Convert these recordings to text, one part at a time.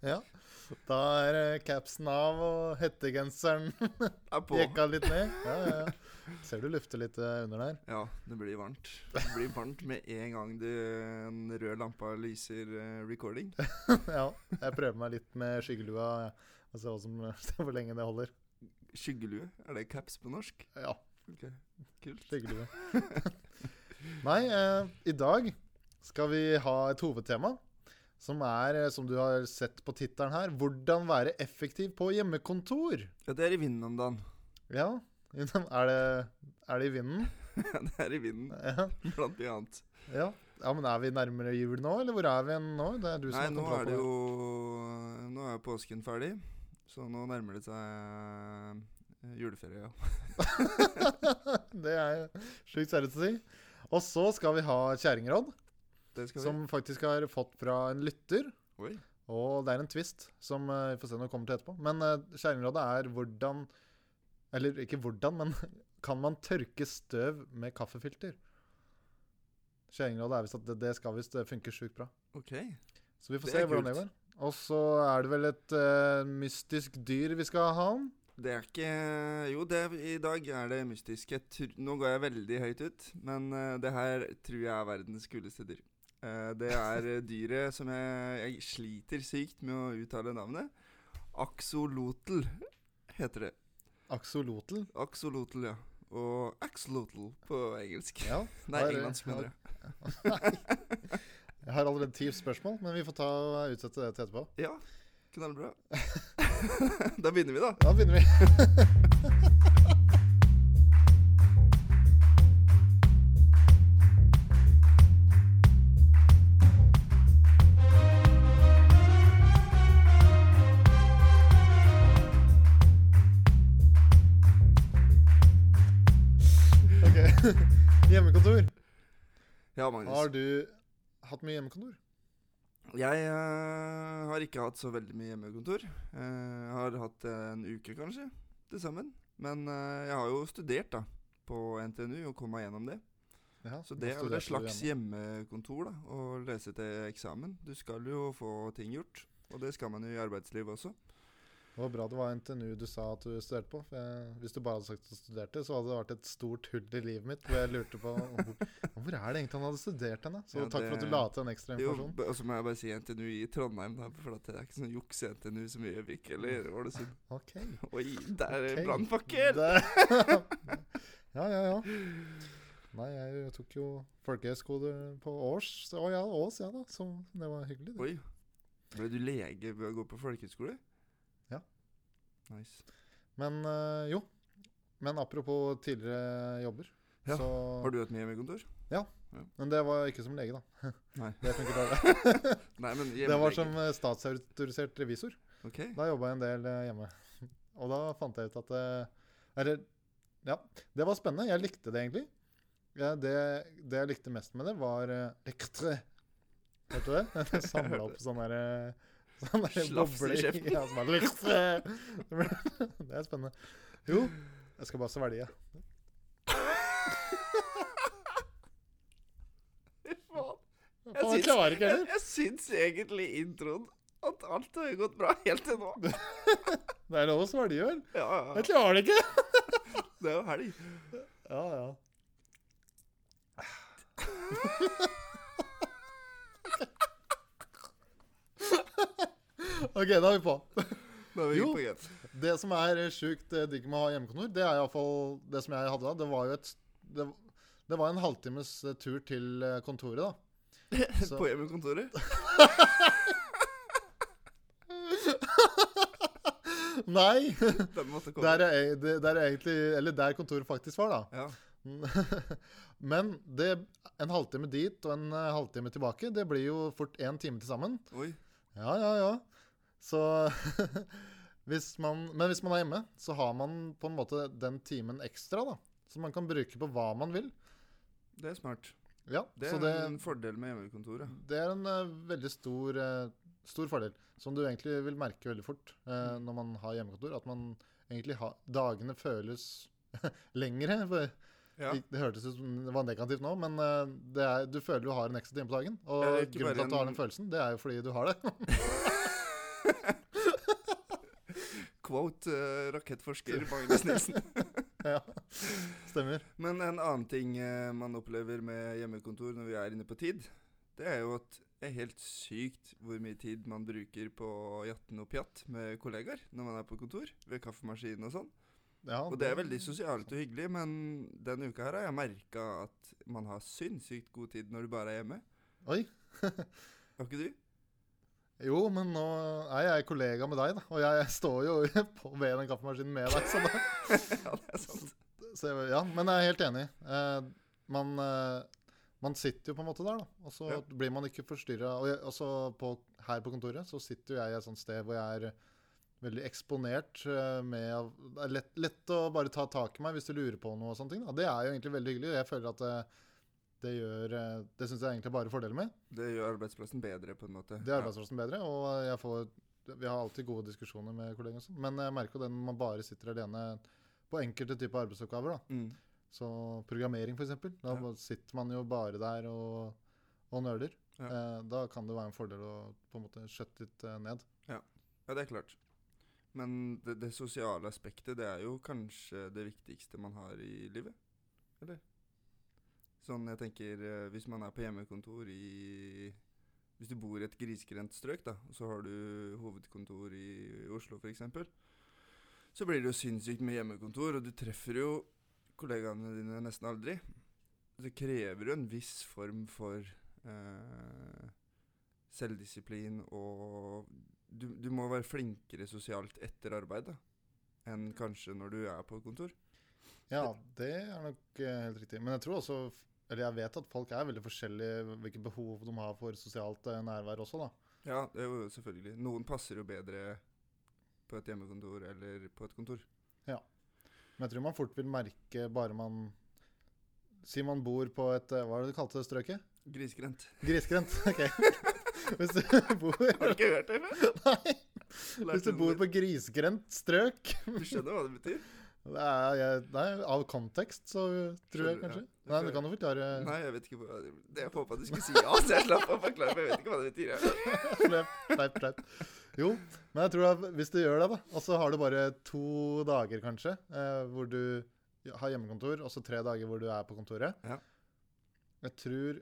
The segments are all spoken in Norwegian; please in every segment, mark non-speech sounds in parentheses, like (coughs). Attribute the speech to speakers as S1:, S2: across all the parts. S1: Ja. Da er eh, capsen av og hettegenseren
S2: Er på.
S1: jekka litt ned. Ja, ja, ja. Ser du lufter litt eh, under der. (laughs)
S2: Ja, det blir varmt. Det blir varmt med en gang det, en rød lampa lyser eh, recording.
S1: Ja, jeg prøver meg litt med skyggelua og ser hva som, (laughs) se hvor lenge det holder.
S2: Skyggelue, er det caps på norsk?
S1: Ja,
S2: Ok, Kult.
S1: skyggelue. (laughs) Nei, eh, i dag skal vi ha et hovedtema som er, eh, som du har sett på tittelen her, 'Hvordan være effektiv på hjemmekontor'.
S2: Ja, det er i vinden om (laughs) dagen.
S1: Ja, (laughs) er det, er det i vinden? (laughs)
S2: det er i vinden,
S1: Ja.
S2: blant annet.
S1: ja. ja, men er vi nærmere jul nå, eller hvor er vi nå? Det er du som
S2: Nei,
S1: har
S2: nå
S1: kontroll
S2: er
S1: på
S2: det
S1: det.
S2: jo Nå er jo påsken ferdig, så nå nærmer det seg eh, juleferie, ja.
S1: Det er sjukt seriøst å si. Og så skal vi ha kjerringråd,
S2: Det skal vi.
S1: som faktisk har fått fra en lytter.
S2: Oi.
S1: Og det er en twist som eh, vi får se når vi kommer til etterpå. Men eh, kjerringrådet er hvordan Eller ikke hvordan, men (laughs) kan man tørke støv med kaffefilter? Kjerringrådet er visst at det, det skal visst eh, funke sjukt bra.
S2: Ok.
S1: Så vi får
S2: Det
S1: se
S2: er
S1: hvordan det
S2: kult.
S1: går. Og så er det vel et eh, mystisk dyr vi skal ha om.
S2: Det er ikke Jo, det, i dag er det mystisk. Jeg tr nå går jeg veldig høyt ut, men eh, det her tror jeg er verdens kuleste dyr. Eh, det er eh, dyret som jeg, jeg sliter sykt med å uttale navnet. Axolotl heter det.
S1: Axolotl.
S2: Axolotl, ja. Og axolotl på engelsk.
S1: Ja,
S2: Nei,
S1: har-
S2: engelsk, mener jeg.
S1: Jeg har allerede ti spørsmål, men vi får ta og utsette det til etterpå.
S2: Ja, knallbra. (laughs) da begynner vi, da.
S1: Da begynner vi. Ok. Hjemmekontor.
S2: Ja, Magnus.
S1: Har du hatt mye hjemmekontor?
S2: Jeg eh, har ikke hatt så veldig mye hjemmekontor. Eh, Jeg har hatt en uke, kanskje, til sammen. Men eh, jeg har jo studert da, på NTNU og kom meg gjennom det.
S1: Ja,
S2: Så det
S1: nå
S2: er vel
S1: studerte
S2: et
S1: du
S2: slags hjemmekontor da, å lese til eksamen. Du skal jo få ting gjort, og det skal man jo i arbeidslivet også.
S1: Det var bra det var NTNU du sa at du studerte på. For jeg, hvis du bare hadde sagt at du studerte, så hadde det vært et stort hull i livet mitt. Hvor jeg lurte på hvor, (laughs) hvor er det egentlig han hadde studert henne? Så
S2: Ja,
S1: takk for at
S2: det-
S1: du la til en ekstra
S2: Jo,
S1: informasjon.
S2: b- og så må jeg bare si NTNU i Trondheim, da, for at det er ikke sånn juks i NTNU som i Gjøvik. Eller var det sånn
S1: Ok.
S2: Oi, der er
S1: Ok.
S2: brannpakker!
S1: Det- (laughs) ja, ja, ja. Nei, jeg tok jo folkehøyskole på Ås. så- Å ja, Ås, ja da. Så det var hyggelig. Det.
S2: Oi. Ble du lege ved å gå på folkehøyskole?
S1: Ja.
S2: Nice.
S1: Men eh, jo. Men apropos tidligere jobber,
S2: Ja,
S1: så
S2: Har du hatt mye hjemmekontor?
S1: Men det var ikke som lege, da.
S2: Nei.
S1: (laughs) Det funker bare.
S2: Nei, men
S1: Det var
S2: hjemmelege.
S1: som eh, statsautorisert revisor.
S2: Ok.
S1: Da jobba jeg en del eh, hjemme. (laughs) Og da fant jeg ut at eh, Eller Ja, det var spennende. Jeg likte det egentlig. Ja, det, det jeg likte mest med det, var eh, (laughs) Lektre. Hørte du det? (laughs) Jeg samla opp sånn derre Sånn der
S2: Slafs i
S1: boble i
S2: kjeften.
S1: (laughs) ja, som er lektre. (laughs) Det ble- det er spennende. Jo, jeg skal bare svelge.
S2: Jeg
S1: Faen, jeg
S2: syns-
S1: klarer ikke
S2: Jeg,
S1: heller.
S2: jeg syns egentlig i introen at alt har gått bra helt til nå.
S1: Det er lov å svelge, vel?
S2: Ja, ja.
S1: Jeg klarer det ikke.
S2: Det er jo helg.
S1: Ja, ja. (laughs) OK, da er vi på.
S2: Da er vi
S1: Jo.
S2: på igjen.
S1: Det som er eh, sjukt eh, digg med å ha hjemmekontor, det er iallfall det som jeg hadde da. Det var jo et Det, det var en halvtimes eh, tur til eh, kontoret, da. (laughs) (laughs) Så-
S2: På hjemmekontoret.
S1: Nei!
S2: Den måtte komme.
S1: Der er, det, der er egentlig Eller der kontoret faktisk var, da. (laughs)
S2: Ja.
S1: Men det, en halvtime dit og en eh, halvtime tilbake, det blir jo fort én time til sammen.
S2: Oi.
S1: Ja, ja, ja. Så (laughs) hvis man, Men hvis man er hjemme, så har man på en måte den timen ekstra, da. Som man kan bruke på hva man vil.
S2: Det er smart.
S1: Ja,
S2: Det
S1: så
S2: er
S1: det,
S2: en fordel med hjemmekontoret.
S1: det er en eh, veldig stor, eh, stor fordel, som du egentlig vil merke veldig fort eh,
S2: Mm.
S1: når man har hjemmekontor. At man egentlig har Dagene føles (laughs) lengre. for
S2: Ja.
S1: Ik- Det hørtes ut som det var negativt nå, men eh, det er, du føler du har en ekstra time på dagen. Og
S2: Ja, det er ikke
S1: grunnen til
S2: bare
S1: at du har den
S2: en-
S1: følelsen, det er jo fordi du har det. (laughs)
S2: Quote eh, rakettforsker
S1: (laughs)
S2: Magnus Nilsen.
S1: ja. Stemmer.
S2: Men en annen ting eh, man opplever med hjemmekontor når vi er inne på tid, det er jo at det er helt sykt hvor mye tid man bruker på å jatten og pjatt med kollegaer når man er på kontor, ved kaffemaskinen og sånn.
S1: Ja,
S2: Og det er veldig sosialt og hyggelig, men denne uka her har jeg merka at man har sinnssykt god tid når du bare er hjemme.
S1: Oi.
S2: Har ikke du? (laughs)
S1: Jo, men nå er jeg kollega med deg, da. Og jeg står jo (laughs) på ved den kaffemaskinen med deg. Så, da,
S2: Ja, det
S1: (laughs)
S2: er sant.
S1: så jeg, ja, men jeg er helt enig. Eh, man, eh, man sitter jo på en måte der, da. Og så
S2: Ja.
S1: blir man ikke forstyrra. Og jeg- også på, her på kontoret så sitter jo jeg i et sånt sted hvor jeg er veldig eksponert. eh, Med, det er lett, lett å bare ta tak i meg hvis du lurer på noe og sånne ting. Da. Det er jo egentlig veldig hyggelig. og Jeg føler at eh, det gjør eh, Det syns jeg egentlig bare er fordeler med.
S2: Det gjør arbeidsplassen bedre, på en måte.
S1: Det altså. er arbeidsplassen bedre, og jeg får, vi har alltid gode diskusjoner med kollegaer. og sånn, Men jeg merker jo det når man bare sitter alene på enkelte typer arbeidsoppgaver. da.
S2: Ja. Mm.
S1: Så Programmering, f.eks. Da
S2: Ja.
S1: sitter man jo bare der og, og nøler.
S2: Ja.
S1: Eh, da kan det være en fordel å på en måte skjøtte litt eh, ned.
S2: Ja, det er klart. Men det, det sosiale aspektet, det er jo kanskje det viktigste man har i livet? Eller? Sånn jeg tenker, eh, hvis man er på hjemmekontor i Hvis du bor i et grisgrendt strøk, da, og så har du hovedkontor i Oslo f.eks., så blir det jo sinnssykt med hjemmekontor, og du treffer jo kollegaene dine nesten aldri. Det krever jo en viss form for eh, selvdisiplin og du, du må være flinkere sosialt etter arbeid da, enn kanskje når du er på kontor.
S1: Ja, det er nok eh, helt riktig. Men jeg tror også, eller jeg vet at folk er veldig forskjellige hvilke behov de har for sosialt eh, nærvær også. da.
S2: Ja, det er jo selvfølgelig. Noen passer jo bedre på et hjemmekontor eller på et kontor.
S1: Men jeg tror man fort vil merke bare man Si man bor på et eh, Hva var det du kalte det strøket?
S2: Grisgrendt.
S1: Grisgrendt, (laughs) ok. Hvis du bor
S2: (laughs) Har du ikke hørt det før?
S1: Nei,
S2: Lærte
S1: hvis du
S2: noe
S1: bor
S2: nytt.
S1: på grisgrendt strøk
S2: Du skjønner hva det betyr?
S1: det er, jeg, Nei, av kontekst, så tror jeg
S2: Skjønner du,
S1: kanskje.
S2: ja.
S1: Nei, du kan jo forklare. (laughs)
S2: Nei, jeg vet ikke hva det det- Jeg håpa du skulle si ja, så jeg slapp å forklare, for jeg vet ikke hva det betyr. jeg.
S1: Sleip, sleip, sleip. Jo, men jeg tror at hvis du gjør det, da, og så har du bare to dager kanskje, eh, hvor du har hjemmekontor, og så tre dager hvor du er på kontoret
S2: Ja.
S1: Jeg tror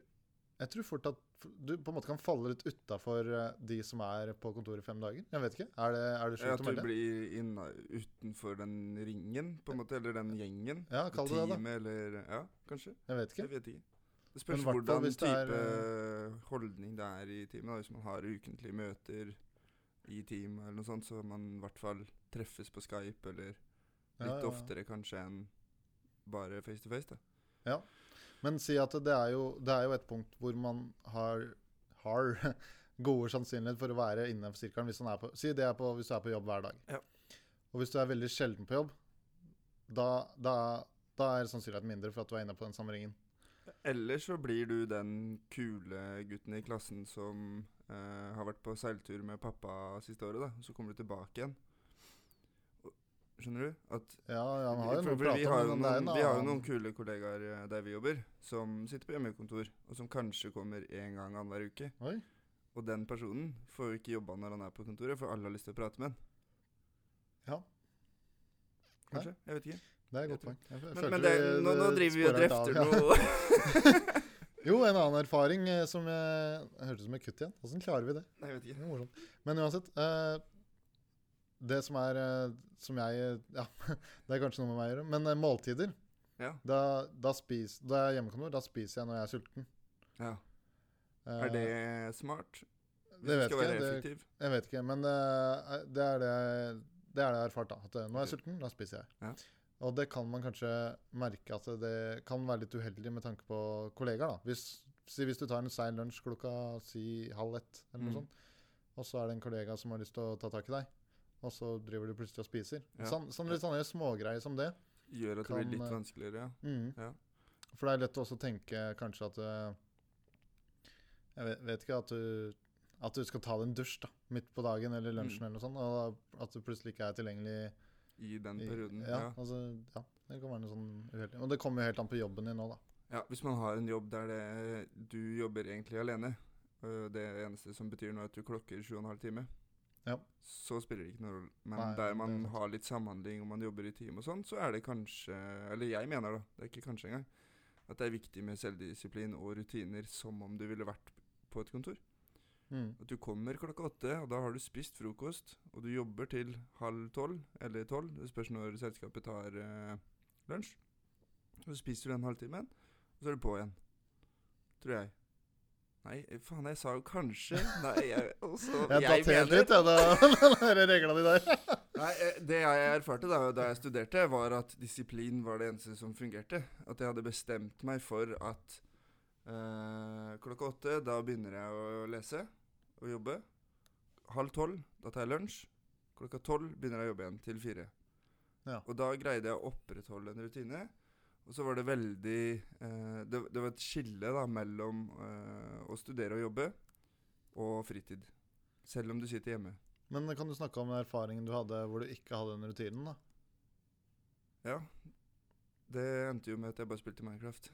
S1: jeg tror fort at du på en måte kan falle litt utafor de som er på kontoret fem dager. Jeg vet ikke. Er det, er det
S2: At
S1: sjukt å
S2: du
S1: melde?
S2: blir inna, utenfor den ringen, på en måte, eller den gjengen.
S1: Ja, kall det det, da.
S2: Teamet, eller Ja, kanskje.
S1: Jeg vet ikke.
S2: Jeg vet ikke. Det spørs
S1: hvert fall
S2: hvordan
S1: hvis det
S2: type
S1: er, eh,
S2: holdning det er i teamet. Da. Hvis man har ukentlige møter i team eller noe sånt, så man i hvert fall treffes på Skype eller litt
S1: Ja, ja, ja.
S2: oftere kanskje enn bare face to face. da.
S1: Men si at det er jo, det er jo et punkt hvor man har, har (laughs) gode sannsynlighet for å være innenfor sirkelen hvis, man er på, si det er på, hvis du er på jobb hver dag.
S2: Ja.
S1: Og hvis du er veldig sjelden på jobb, da, da, da er sannsynligheten mindre for at du er inne på den samme ringen.
S2: Eller så blir du den kule gutten i klassen som eh, har vært på seiltur med pappa siste året, da. og Så kommer du tilbake igjen. Og- Skjønner du? At
S1: Ja, ja, man har jo
S2: For
S1: noe å
S2: vi- vi
S1: prate
S2: har
S1: om,
S2: jo
S1: men det er en
S2: noen, vi har jo
S1: annen-
S2: noen kule kollegaer eh, der vi jobber, som sitter på hjemmekontor, og som kanskje kommer én gang annenhver uke.
S1: Oi.
S2: Og den personen får jo ikke jobba når han er på kontoret, for alle har lyst til å prate med han.
S1: Ja.
S2: Kanskje? Jeg vet ikke.
S1: Det er et godt poeng. Jeg
S2: Men,
S1: følte
S2: men det,
S1: vi-
S2: nå, nå
S1: det
S2: driver vi og
S1: sporet av,
S2: drøfter
S1: ja.
S2: noe
S1: (laughs) Jo, en annen erfaring eh, som jeg, jeg hørtes ut som et kutt igjen. Åssen klarer vi det?
S2: Nei, jeg vet
S1: Det
S2: ikke.
S1: er morsomt. Men uansett eh, Det som er eh, Som jeg (laughs) eh, Ja, det er kanskje noe med meg å gjøre, men eh, måltider
S2: Ja.
S1: da, da, spis, da jeg er hjemmekontor, da spiser jeg når jeg er sulten.
S2: ja.
S1: Eh,
S2: Er det smart? Hvis
S1: Det
S2: du
S1: vet
S2: skal være
S1: ikke jeg. Det,
S2: effektiv?
S1: jeg vet ikke. Men det, er- det er det jeg- det er det jeg har erfart. da At eh, når jeg er
S2: Ok.
S1: sulten, da spiser jeg.
S2: Ja.
S1: Og det kan man kanskje merke at det kan være litt uheldig med tanke på kollegaer. da Hvis, si, hvis du tar en sein lunsj klokka si halv ett, eller noe
S2: Mm.
S1: sånt, og så er det en kollega som har lyst til å ta tak i deg, og så driver du plutselig og spiser.
S2: Ja.
S1: Sånn, sånn, litt sånne smågreier som det.
S2: Gjør at det
S1: kan,
S2: blir litt
S1: eh,
S2: vanskeligere, ja.
S1: Mm.
S2: Ja.
S1: For det er lett å også tenke kanskje at eh, Jeg vet, vet ikke at du at du skal ta deg en dusj da, midt på dagen eller lunsjen,
S2: Mm.
S1: eller noe sånt, og da- at du plutselig ikke er tilgjengelig
S2: i den perioden.
S1: Ja,
S2: Ja.
S1: altså, ja, det kan være noe sånn uheldig. Og det kommer jo helt an på jobben din nå, da.
S2: Ja, hvis man har en jobb der det, du jobber egentlig alene, øh, det eneste som betyr nå er at du klokker sju og en halv time,
S1: Ja.
S2: så spiller det ikke noen rolle. Men
S1: Nei, det
S2: der
S1: er
S2: man
S1: sant.
S2: har litt samhandling og man jobber i team og sånn, så er det kanskje Eller jeg mener da, det er ikke kanskje engang, at det er viktig med selvdisiplin og rutiner som om du ville vært på et kontor.
S1: Mm.
S2: At du kommer klokka åtte, og da har du spist frokost, og du jobber til halv tolv, eller tolv, det spørs når selskapet tar eh, lunsj. Så spiser du den halvtimen, og så er du på igjen. Tror jeg. Nei, eh, faen, jeg sa jo kanskje. Nei, jeg, også,
S1: Jeg datt helt ut, jeg, da. (laughs) Den der regla di der.
S2: Nei, eh, Det jeg erfarte da, da jeg studerte, var at disiplin var det eneste som fungerte. At jeg hadde bestemt meg for at eh, klokka åtte, da begynner jeg å lese og jobbe. Halv tolv, da tar jeg lunsj. Klokka tolv begynner jeg å jobbe igjen til fire.
S1: Ja.
S2: Og da greide jeg å opprettholde en rutine. Og så var det veldig eh, det, det var et skille da mellom eh, å studere og jobbe og fritid. Selv om du sitter hjemme.
S1: Men kan du snakke om erfaringen du hadde hvor du ikke hadde den rutinen, da?
S2: Ja. Det endte jo med at jeg bare spilte Minecraft.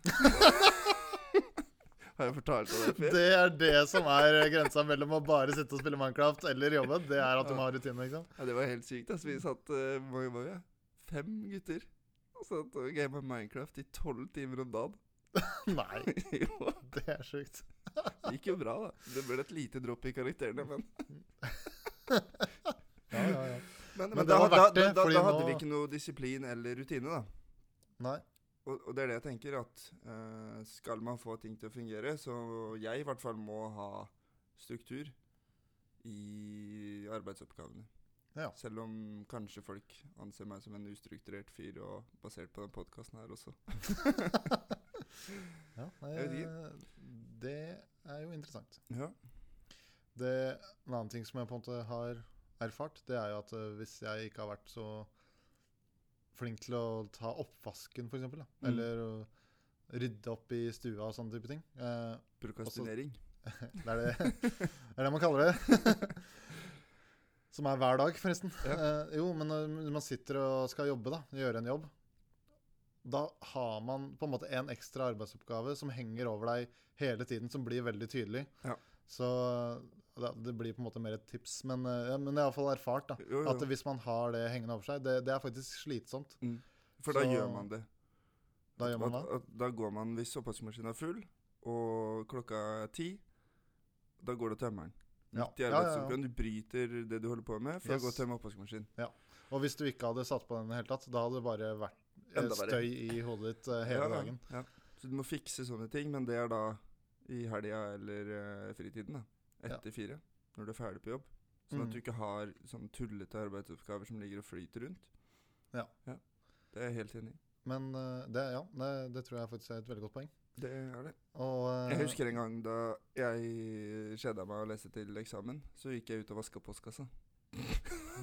S2: Har jeg fortalt deg det før?
S1: Det er det som er grensa mellom å bare sitte og spille Minecraft eller jobbe. Det er at du
S2: Ja.
S1: må ha rutine, ikke sant? (laughs)
S2: Ja, det var helt sykt. Altså. Vi satt eh, hvor mange var vi? fem gutter og satt og gama Minecraft i tolv timer om dagen. (laughs)
S1: Nei,
S2: jo,
S1: det er sjukt.
S2: det gikk jo bra, da. Det ble et lite dropp i karakterene, men
S1: Ja, ja, ja.
S2: Men, men,
S1: det
S2: da,
S1: var
S2: da,
S1: verdt
S2: da,
S1: det,
S2: da,
S1: fordi
S2: da hadde
S1: nå-
S2: vi ikke noe disiplin eller rutine, da.
S1: Nei.
S2: Og, og det er det jeg tenker, at eh, skal man få ting til å fungere, så jeg i hvert fall må ha struktur i arbeidsoppgavene.
S1: Ja.
S2: Selv om kanskje folk anser meg som en ustrukturert fyr, og basert på den podkasten her også.
S1: (laughs) Ja,
S2: Jeg vet
S1: eh, det er jo interessant.
S2: Ja.
S1: Det, en annen ting som jeg på en måte har erfart, det er jo at eh, hvis jeg ikke har vært så flink til å ta oppvasken, f.eks., mm.
S2: Mm.
S1: eller å rydde opp i stua og sånne type ting eh,
S2: Prokastinering.
S1: Det er det, det er det man kaller det. (laughs) Som er hver dag, forresten. Eh, jo, men når man sitter og skal jobbe, da, gjøre en jobb, da har man på en måte en ekstra arbeidsoppgave som henger over deg hele tiden, som blir veldig tydelig.
S2: Ja.
S1: Så da, det blir på en måte mer et tips, men, eh, ja, men jeg har iallfall erfart da,
S2: Jo, jo.
S1: at hvis man har det hengende over seg, det, det er faktisk slitsomt.
S2: For da
S1: så-
S2: gjør man det.
S1: Da gjør man
S2: at,
S1: det.
S2: at, da går man hvis oppvaskmaskinen er full, og klokka er ti, da går du og tømmer den.
S1: Ja.
S2: Midt i
S1: Ja, ja, ja.
S2: arbeidsoppgaven. Du bryter det du holder på med, for å gå
S1: Yes.
S2: og tømme oppvaskmaskinen.
S1: Og hvis du ikke hadde satt på den i det hele tatt, da hadde det bare vært eh,
S2: Enda verre.
S1: støy i hodet ditt eh, hele
S2: Ja, ja,
S1: dagen.
S2: Ja. Så du må fikse sånne ting, men det er da i helga eller eh, fritiden. da. Etter fire, når du er ferdig på jobb. Sånn
S1: Mm.
S2: at du ikke har sånn tullete arbeidsoppgaver som ligger og flyter rundt.
S1: Ja.
S2: Det er jeg helt enig i.
S1: Men eh, det, ja, det, det tror jeg faktisk er et veldig godt poeng.
S2: Det er det.
S1: Og, eh,
S2: Jeg husker en gang da jeg kjeda meg å lese til eksamen, så gikk jeg ut og vaska postkassa.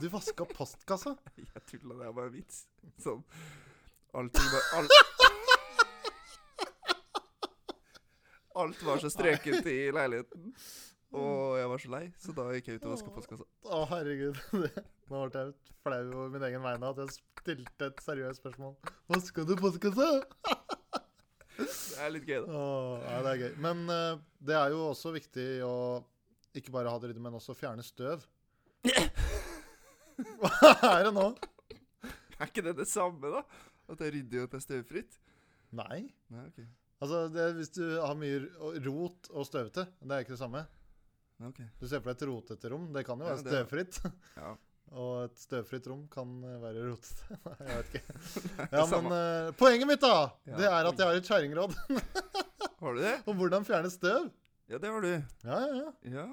S1: Du vaska postkassa?
S2: (laughs) Jeg tulla, det var en vits. Sånn. Allting var all... Alt var så strøket i leiligheten, og jeg var så lei, så da gikk jeg ut og vaska postkassa.
S1: Å, herregud. (laughs) Det- Nå ble jeg litt flau over min egen vegne at jeg stilte et seriøst spørsmål. Vaska du postkassa?
S2: Det er litt gøy, da.
S1: Åh, ja, det er gøy. Men eh, det er jo også viktig å ikke bare ha det ryddig, men også fjerne
S2: (laughs)
S1: støv. Hva er det nå?
S2: Er ikke det det samme, da? At jeg rydder og at det er støvfritt?
S1: Nei.
S2: Nei, ok.
S1: Altså, det, Hvis du har mye r- rot og støvete, det er ikke det samme.
S2: Nei, ok.
S1: Du ser for deg et rotete rom. Det kan jo
S2: Ja,
S1: være
S2: det-
S1: støvfritt.
S2: (laughs) Ja.
S1: Og et støvfritt rom kan eh, være rotete. (laughs) Nei, Jeg vet
S2: (laughs)
S1: ikke.
S2: Det er
S1: Ja, men
S2: samme.
S1: eh, Poenget mitt da,
S2: Ja,
S1: det er
S2: poenget.
S1: at jeg har et kjerringråd (laughs)
S2: Har du det?
S1: om hvordan fjerne støv.
S2: Ja, det har du.
S1: Ja, ja, ja.
S2: Ja.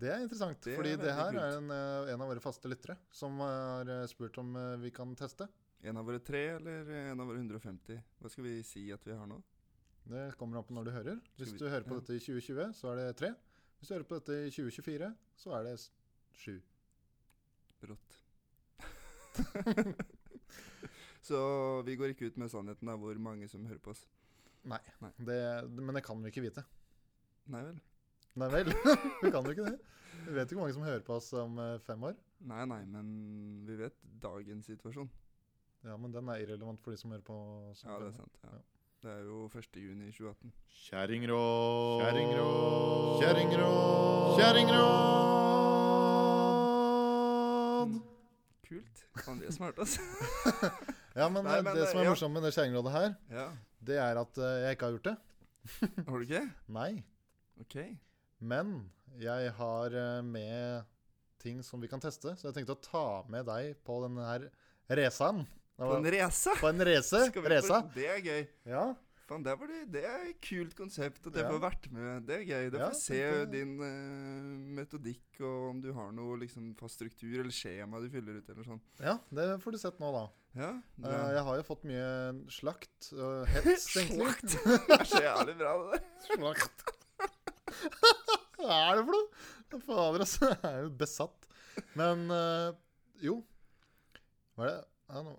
S1: Det er interessant.
S2: Det er
S1: fordi det
S2: veldig
S1: her
S2: kult.
S1: er en, eh, en av våre faste lyttere som har eh, spurt om eh, vi kan teste.
S2: En av våre tre, eller en av våre 150? Hva skal vi si at vi har nå?
S1: Det kommer an på når du hører. Hvis
S2: Skal vi-
S1: du hører på
S2: ja.
S1: dette i 2020, så er det tre. Hvis du hører på dette i 2024, så er det s- sju.
S2: Rått. (laughs) Så vi går ikke ut med sannheten av hvor mange som hører på oss.
S1: Det, men det kan vi ikke vite.
S2: Nei vel?
S1: (laughs) Nei vel, vi kan jo ikke det. Vi vet jo ikke hvor mange som hører på oss om eh, fem år.
S2: Nei, nei, men vi vet dagens situasjon.
S1: Ja, men den er irrelevant for de som hører på. som
S2: Ja, det er
S1: følger med.
S2: sant. Ja.
S1: Ja.
S2: Det er jo 1. juni 2018.
S3: Kjerringrå.
S1: Kjerringrå.
S3: Kjerringråd. Kjerringråd.
S2: Kult. Andreas smart,
S1: (laughs)
S2: altså.
S1: Ja, men,
S2: Nei,
S1: eh,
S2: men,
S1: det
S2: eh,
S1: som er
S2: ja.
S1: morsomt med det skjæringrådet her,
S2: Ja.
S1: det er at eh, jeg ikke har gjort det.
S2: Har du ikke?
S1: Nei.
S2: Ok.
S1: Men jeg har eh, med ting som vi kan teste, så jeg tenkte å ta med deg på denne her resaen. Det
S2: På
S1: var-
S2: en race?
S1: På en race.
S2: Skal vi på-
S1: Resa.
S2: Det er gøy.
S1: Ja.
S2: Faen, det, var det, det er et kult konsept at jeg
S1: Ja.
S2: får vært med. Det er gøy. Da
S1: Ja,
S2: får jeg se
S1: tenkte jeg.
S2: din eh, metodikk og om du har noe liksom, fast struktur eller skjema du fyller ut eller sånn.
S1: ja, det får du sett nå, da.
S2: Ja.
S1: Eh,
S2: Det
S1: jeg har jo fått mye slakt og
S2: (laughs)
S1: hets, egentlig.
S2: Slakt. det er så jævlig bra, det der.
S1: Slakt. (laughs) Hva er det for noe? Fader, altså. Jeg er jo besatt. Men eh, jo Hva er det ja, nå-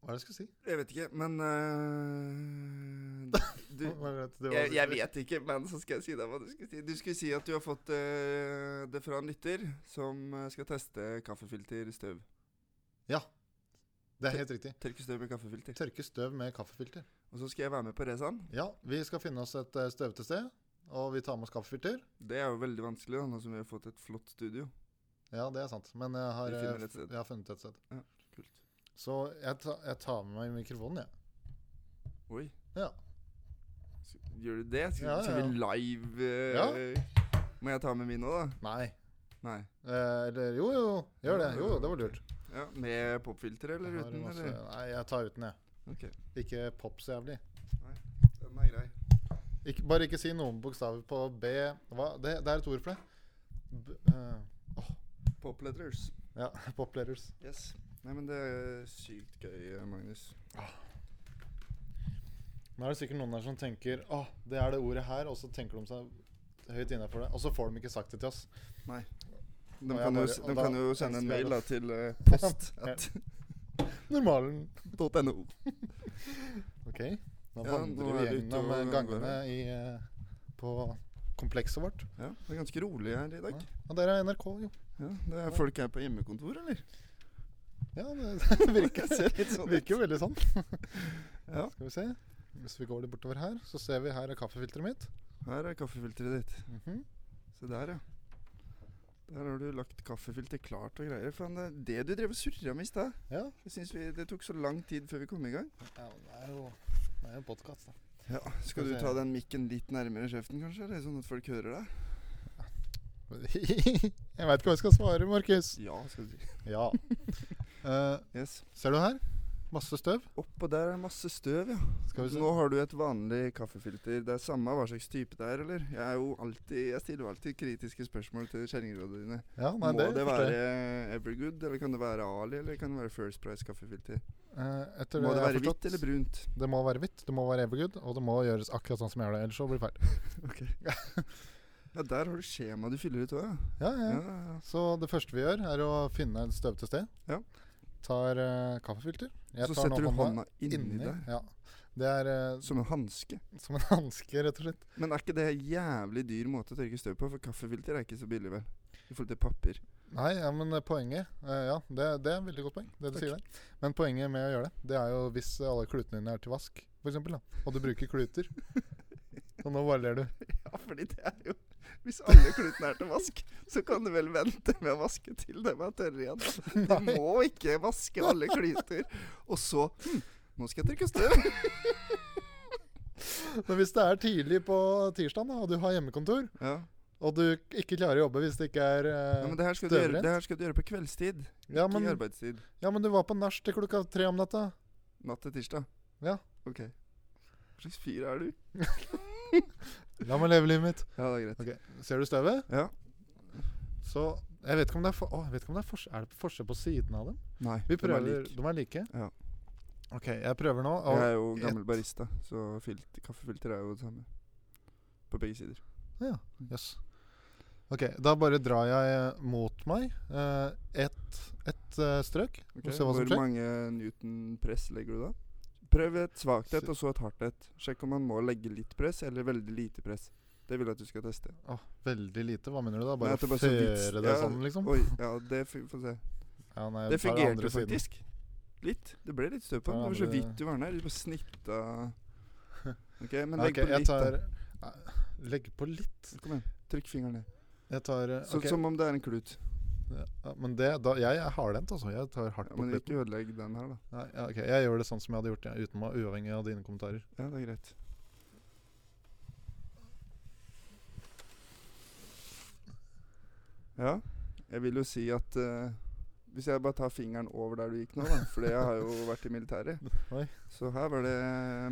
S1: Hva er det jeg skulle si?
S2: Jeg vet ikke, men eh, (laughs) du,
S1: Hva er det- det var-
S2: jeg, jeg vet ikke, men så skal jeg si deg hva du skulle si. Du skulle si at du har fått eh, det fra en lytter som eh, skal teste kaffefilterstøv.
S1: Det er helt riktig.
S2: Tørke støv med kaffefilter.
S1: Tørke støv med kaffefilter.
S2: Og så skal jeg være med på racen.
S1: Ja, vi skal finne oss et eh, støvete sted, og vi tar med oss kaffefilter.
S2: Det er jo veldig vanskelig, da, nå som vi har fått et flott studio.
S1: Ja, det er sant. Men jeg har,
S2: Vi
S1: eh,
S2: finner et sted.
S1: jeg har funnet et sted.
S2: Ja, kult.
S1: Så jeg, ta, jeg tar med meg mikrofonen, jeg.
S2: Oi.
S1: Ja.
S2: Så, gjør du det? Skal,
S1: Ja, ja,
S2: skal vi live eh, Må jeg ta med min òg, da?
S1: Nei.
S2: Nei.
S1: Eh, eller jo, jo. Gjør det. Jo, jo, det var lurt.
S2: Ja, Med popfilter
S1: Jeg
S2: eller
S1: har
S2: uten?
S1: masse-
S2: eller?
S1: Nei, jeg tar uten, jeg.
S2: Ok.
S1: Ikke pop så jævlig.
S2: Den er grei.
S1: Ikke, bare ikke si noen bokstaver på B Hva? Det, det er et ord for det. B, eh,
S2: Pop letters.
S1: ja, (laughs) pop letters.
S2: Yes. Nei, men det er sykt gøy, eh, Magnus.
S1: Nå er det sikkert noen der som tenker Å, det er det ordet her, og så tenker de seg høyt innafor det. Og så får de ikke sagt det til oss.
S2: De,
S1: Og jeg
S2: kan, jo,
S1: bare-
S2: s-
S1: og
S2: de
S1: da
S2: kan jo sende en
S1: elsker jeg
S2: mail da, til (laughs) eh,
S1: Ja.
S2: (laughs) post.no.
S1: Normalen. OK. Nå
S2: Ja,
S1: vandrer
S2: nå er
S1: vi
S2: vi ute
S1: gjennom
S2: og
S1: eh, gangene
S2: går
S1: i, eh, på komplekset vårt.
S2: Ja, det er ganske rolig her i dag.
S1: Og der er NRK, jo.
S2: Ja, det er Folk her på hjemmekontor, (laughs) eller?
S1: Ja, det, (laughs) det
S2: (laughs)
S1: virker,
S2: ser litt sånn ut.
S1: virker jo veldig sånn. (laughs)
S2: Ja.
S1: Skal vi se. Hvis vi går litt bortover her, så ser vi her er kaffefilteret mitt.
S2: Her er kaffefilteret ditt.
S1: Mhm.
S2: Se der, ja. Der har du lagt kaffefilter klart og greier. Faen, det er det du drev og surra med i stad.
S1: Ja.
S2: Jeg synes vi- Det tok så lang tid før vi kom i gang.
S1: Ja, men det er jo, det er jo (laughs) podkast, da.
S2: Ja,
S1: Skal
S2: Skal
S1: vi
S2: du
S1: se.
S2: ta den mikken litt nærmere kjeften, kanskje? Eller Sånn at folk hører deg?
S1: jeg veit ikke hva jeg skal svare, Markus.
S2: Ja, skal du si.
S1: Ja. (laughs) Eh,
S2: Yes.
S1: ser du her? Masse støv.
S2: Oppå der er det masse støv, ja.
S1: Skal vi se.
S2: Nå har du et vanlig kaffefilter. Det er samme hva slags type det er, eller? Jeg, er jo alltid, jeg stiller jo alltid kritiske spørsmål til kjerringrådene dine.
S1: Ja, nei,
S2: Må det
S1: forstår
S2: være
S1: jeg.
S2: Evergood, eller kan det være Ali, eller kan det være First Price kaffefilter?
S1: Eh, etter
S2: Må det
S1: jeg har
S2: være
S1: forstått,
S2: hvitt eller brunt?
S1: Det må være hvitt, det må være evergood, og det må gjøres akkurat sånn som jeg gjør det. Ellers så blir det feil.
S2: Ja, der har du skjema du fyller ut òg, ja.
S1: Ja, ja.
S2: Ja, ja, ja.
S1: Så det første vi gjør, er å finne et støvete sted.
S2: Ja.
S1: Tar eh, kaffefilter. Jeg
S2: Så
S1: tar nå
S2: setter du hånda inni, der,
S1: Ja. Det er eh,
S2: som en hanske.
S1: som en (laughs) hanske, rett og slett.
S2: Men er ikke det en jævlig dyr måte å tørke støv på? For kaffefilter er ikke så billig, vel? I forhold til papir.
S1: Nei, ja, men eh, poenget eh, Ja, det, det er et veldig godt poeng, det du
S2: Takk.
S1: sier der. Men poenget med å gjøre det, det er jo hvis eh, alle klutene dine er til vask, f.eks., og du bruker
S2: (laughs)
S1: kluter. Så nå bare ler du.
S2: Ja, fordi det er jo Hvis alle klutene er til vask, så kan du vel vente med å vaske til dem er tørre igjen.
S1: (laughs)
S2: Du
S1: Nei.
S2: må ikke vaske alle kluter. Og så hm, Nå skal jeg tørke støv.
S1: Men hvis det er tidlig på tirsdagen, da, og du har hjemmekontor,
S2: Ja.
S1: og du k- ikke klarer å jobbe hvis det ikke er eh,
S2: Ja, men det her, skal du gjøre,
S1: Støvrent.
S2: det her skal du gjøre på kveldstid,
S1: ja,
S2: ikke i
S1: men,
S2: arbeidstid.
S1: ja, men du var på nach til klokka tre om natta.
S2: Natt til tirsdag.
S1: Ja.
S2: Ok. Hva slags fyr er du?
S1: La meg leve livet mitt.
S2: Ja, det er greit.
S1: Ok, Ser du støvet?
S2: Ja.
S1: Så Jeg vet ikke om det er, for, å, jeg vet ikke om det er, forskjell- er det forskjell på sidene av dem.
S2: Nei,
S1: Vi
S2: de er
S1: prøver,
S2: lik.
S1: De er like?
S2: Ja.
S1: OK, jeg prøver nå. Og,
S2: Jeg er jo gammel
S1: et-
S2: barista, så filt, kaffefilter er jo det samme. På begge sider.
S1: Ja, jøss. Ok, da bare drar jeg eh, mot meg eh, ett et, strøk.
S2: Ok,
S1: Vi ser hva som
S2: Hvor
S1: skjer.
S2: mange newton press legger du da? Prøv et svakt et
S1: Se-
S2: og så et hardt et. Sjekk om man må legge litt press eller veldig lite press. Det vil jeg at du skal teste.
S1: Åh, veldig lite. Hva mener du da?
S2: Nei,
S1: Bare
S2: at det bare så
S1: føre
S2: vidt-
S1: det
S2: ja,
S1: sånn, liksom?
S2: Oi, ja, det f- får vi se.
S1: Ja, nei,
S2: Det
S1: tar
S2: fungerte
S1: andre
S2: jo
S1: siden.
S2: faktisk. Litt. Det ble litt støv på den.
S1: Tar
S2: Det var så
S1: andre-
S2: vidt du var den der. Du bare
S1: (laughs)
S2: snitta OK, men
S1: Ja,
S2: legg
S1: ok,
S2: på
S1: jeg
S2: litt. da.
S1: tar Nei, Legg på litt?
S2: Kom igjen. Trykk fingeren ned.
S1: Jeg tar eh,
S2: Så,
S1: ok.
S2: Som om det er en klut.
S1: Ja, men det da, Jeg er hardhendt, altså. Jeg tar hardt
S2: Ja,
S1: på
S2: men
S1: klitten.
S2: ikke ødelegg den her, da.
S1: Nei, ja, ok, Jeg gjør det sånn som jeg hadde gjort det, uten meg, uavhengig av dine kommentarer.
S2: Ja, det er greit. Ja, jeg vil jo si at eh, Hvis jeg bare tar fingeren over der du gikk nå, da, fordi jeg har jo vært i militæret,
S1: (laughs) Oi.
S2: så her var det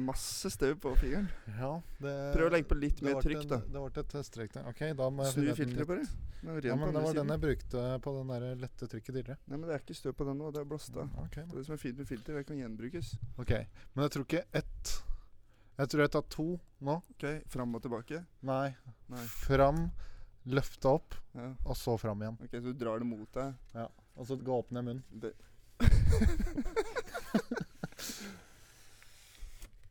S2: masse støv på fingeren.
S1: Ja, det
S2: Prøv å legge på litt
S1: det
S2: mer
S1: ble
S2: trykk,
S1: en-
S2: da.
S1: Det ble et eh, strek der. Ok, da må jeg
S2: Snu
S1: finne ut en
S2: filteret, bare. Nå er vi
S1: Ja,
S2: igjen
S1: men
S2: på
S1: Det
S2: andre
S1: var den
S2: siden.
S1: jeg brukte på den der lette trykket tidligere.
S2: Nei, men det er ikke støv på den nå. Det er blåst av.
S1: Ok,
S2: Det er det som er fint med filter. Det kan gjenbrukes.
S1: ok. Men jeg tror ikke ett Jeg tror jeg tar to nå.
S2: Ok, Fram og tilbake.
S1: Nei.
S2: Nei.
S1: Fram, løfte opp,
S2: Ja.
S1: og så fram igjen.
S2: Ok, Så du drar det mot deg.
S1: Og så gå opp ned munnen.
S2: Det.
S1: (laughs)
S2: (laughs)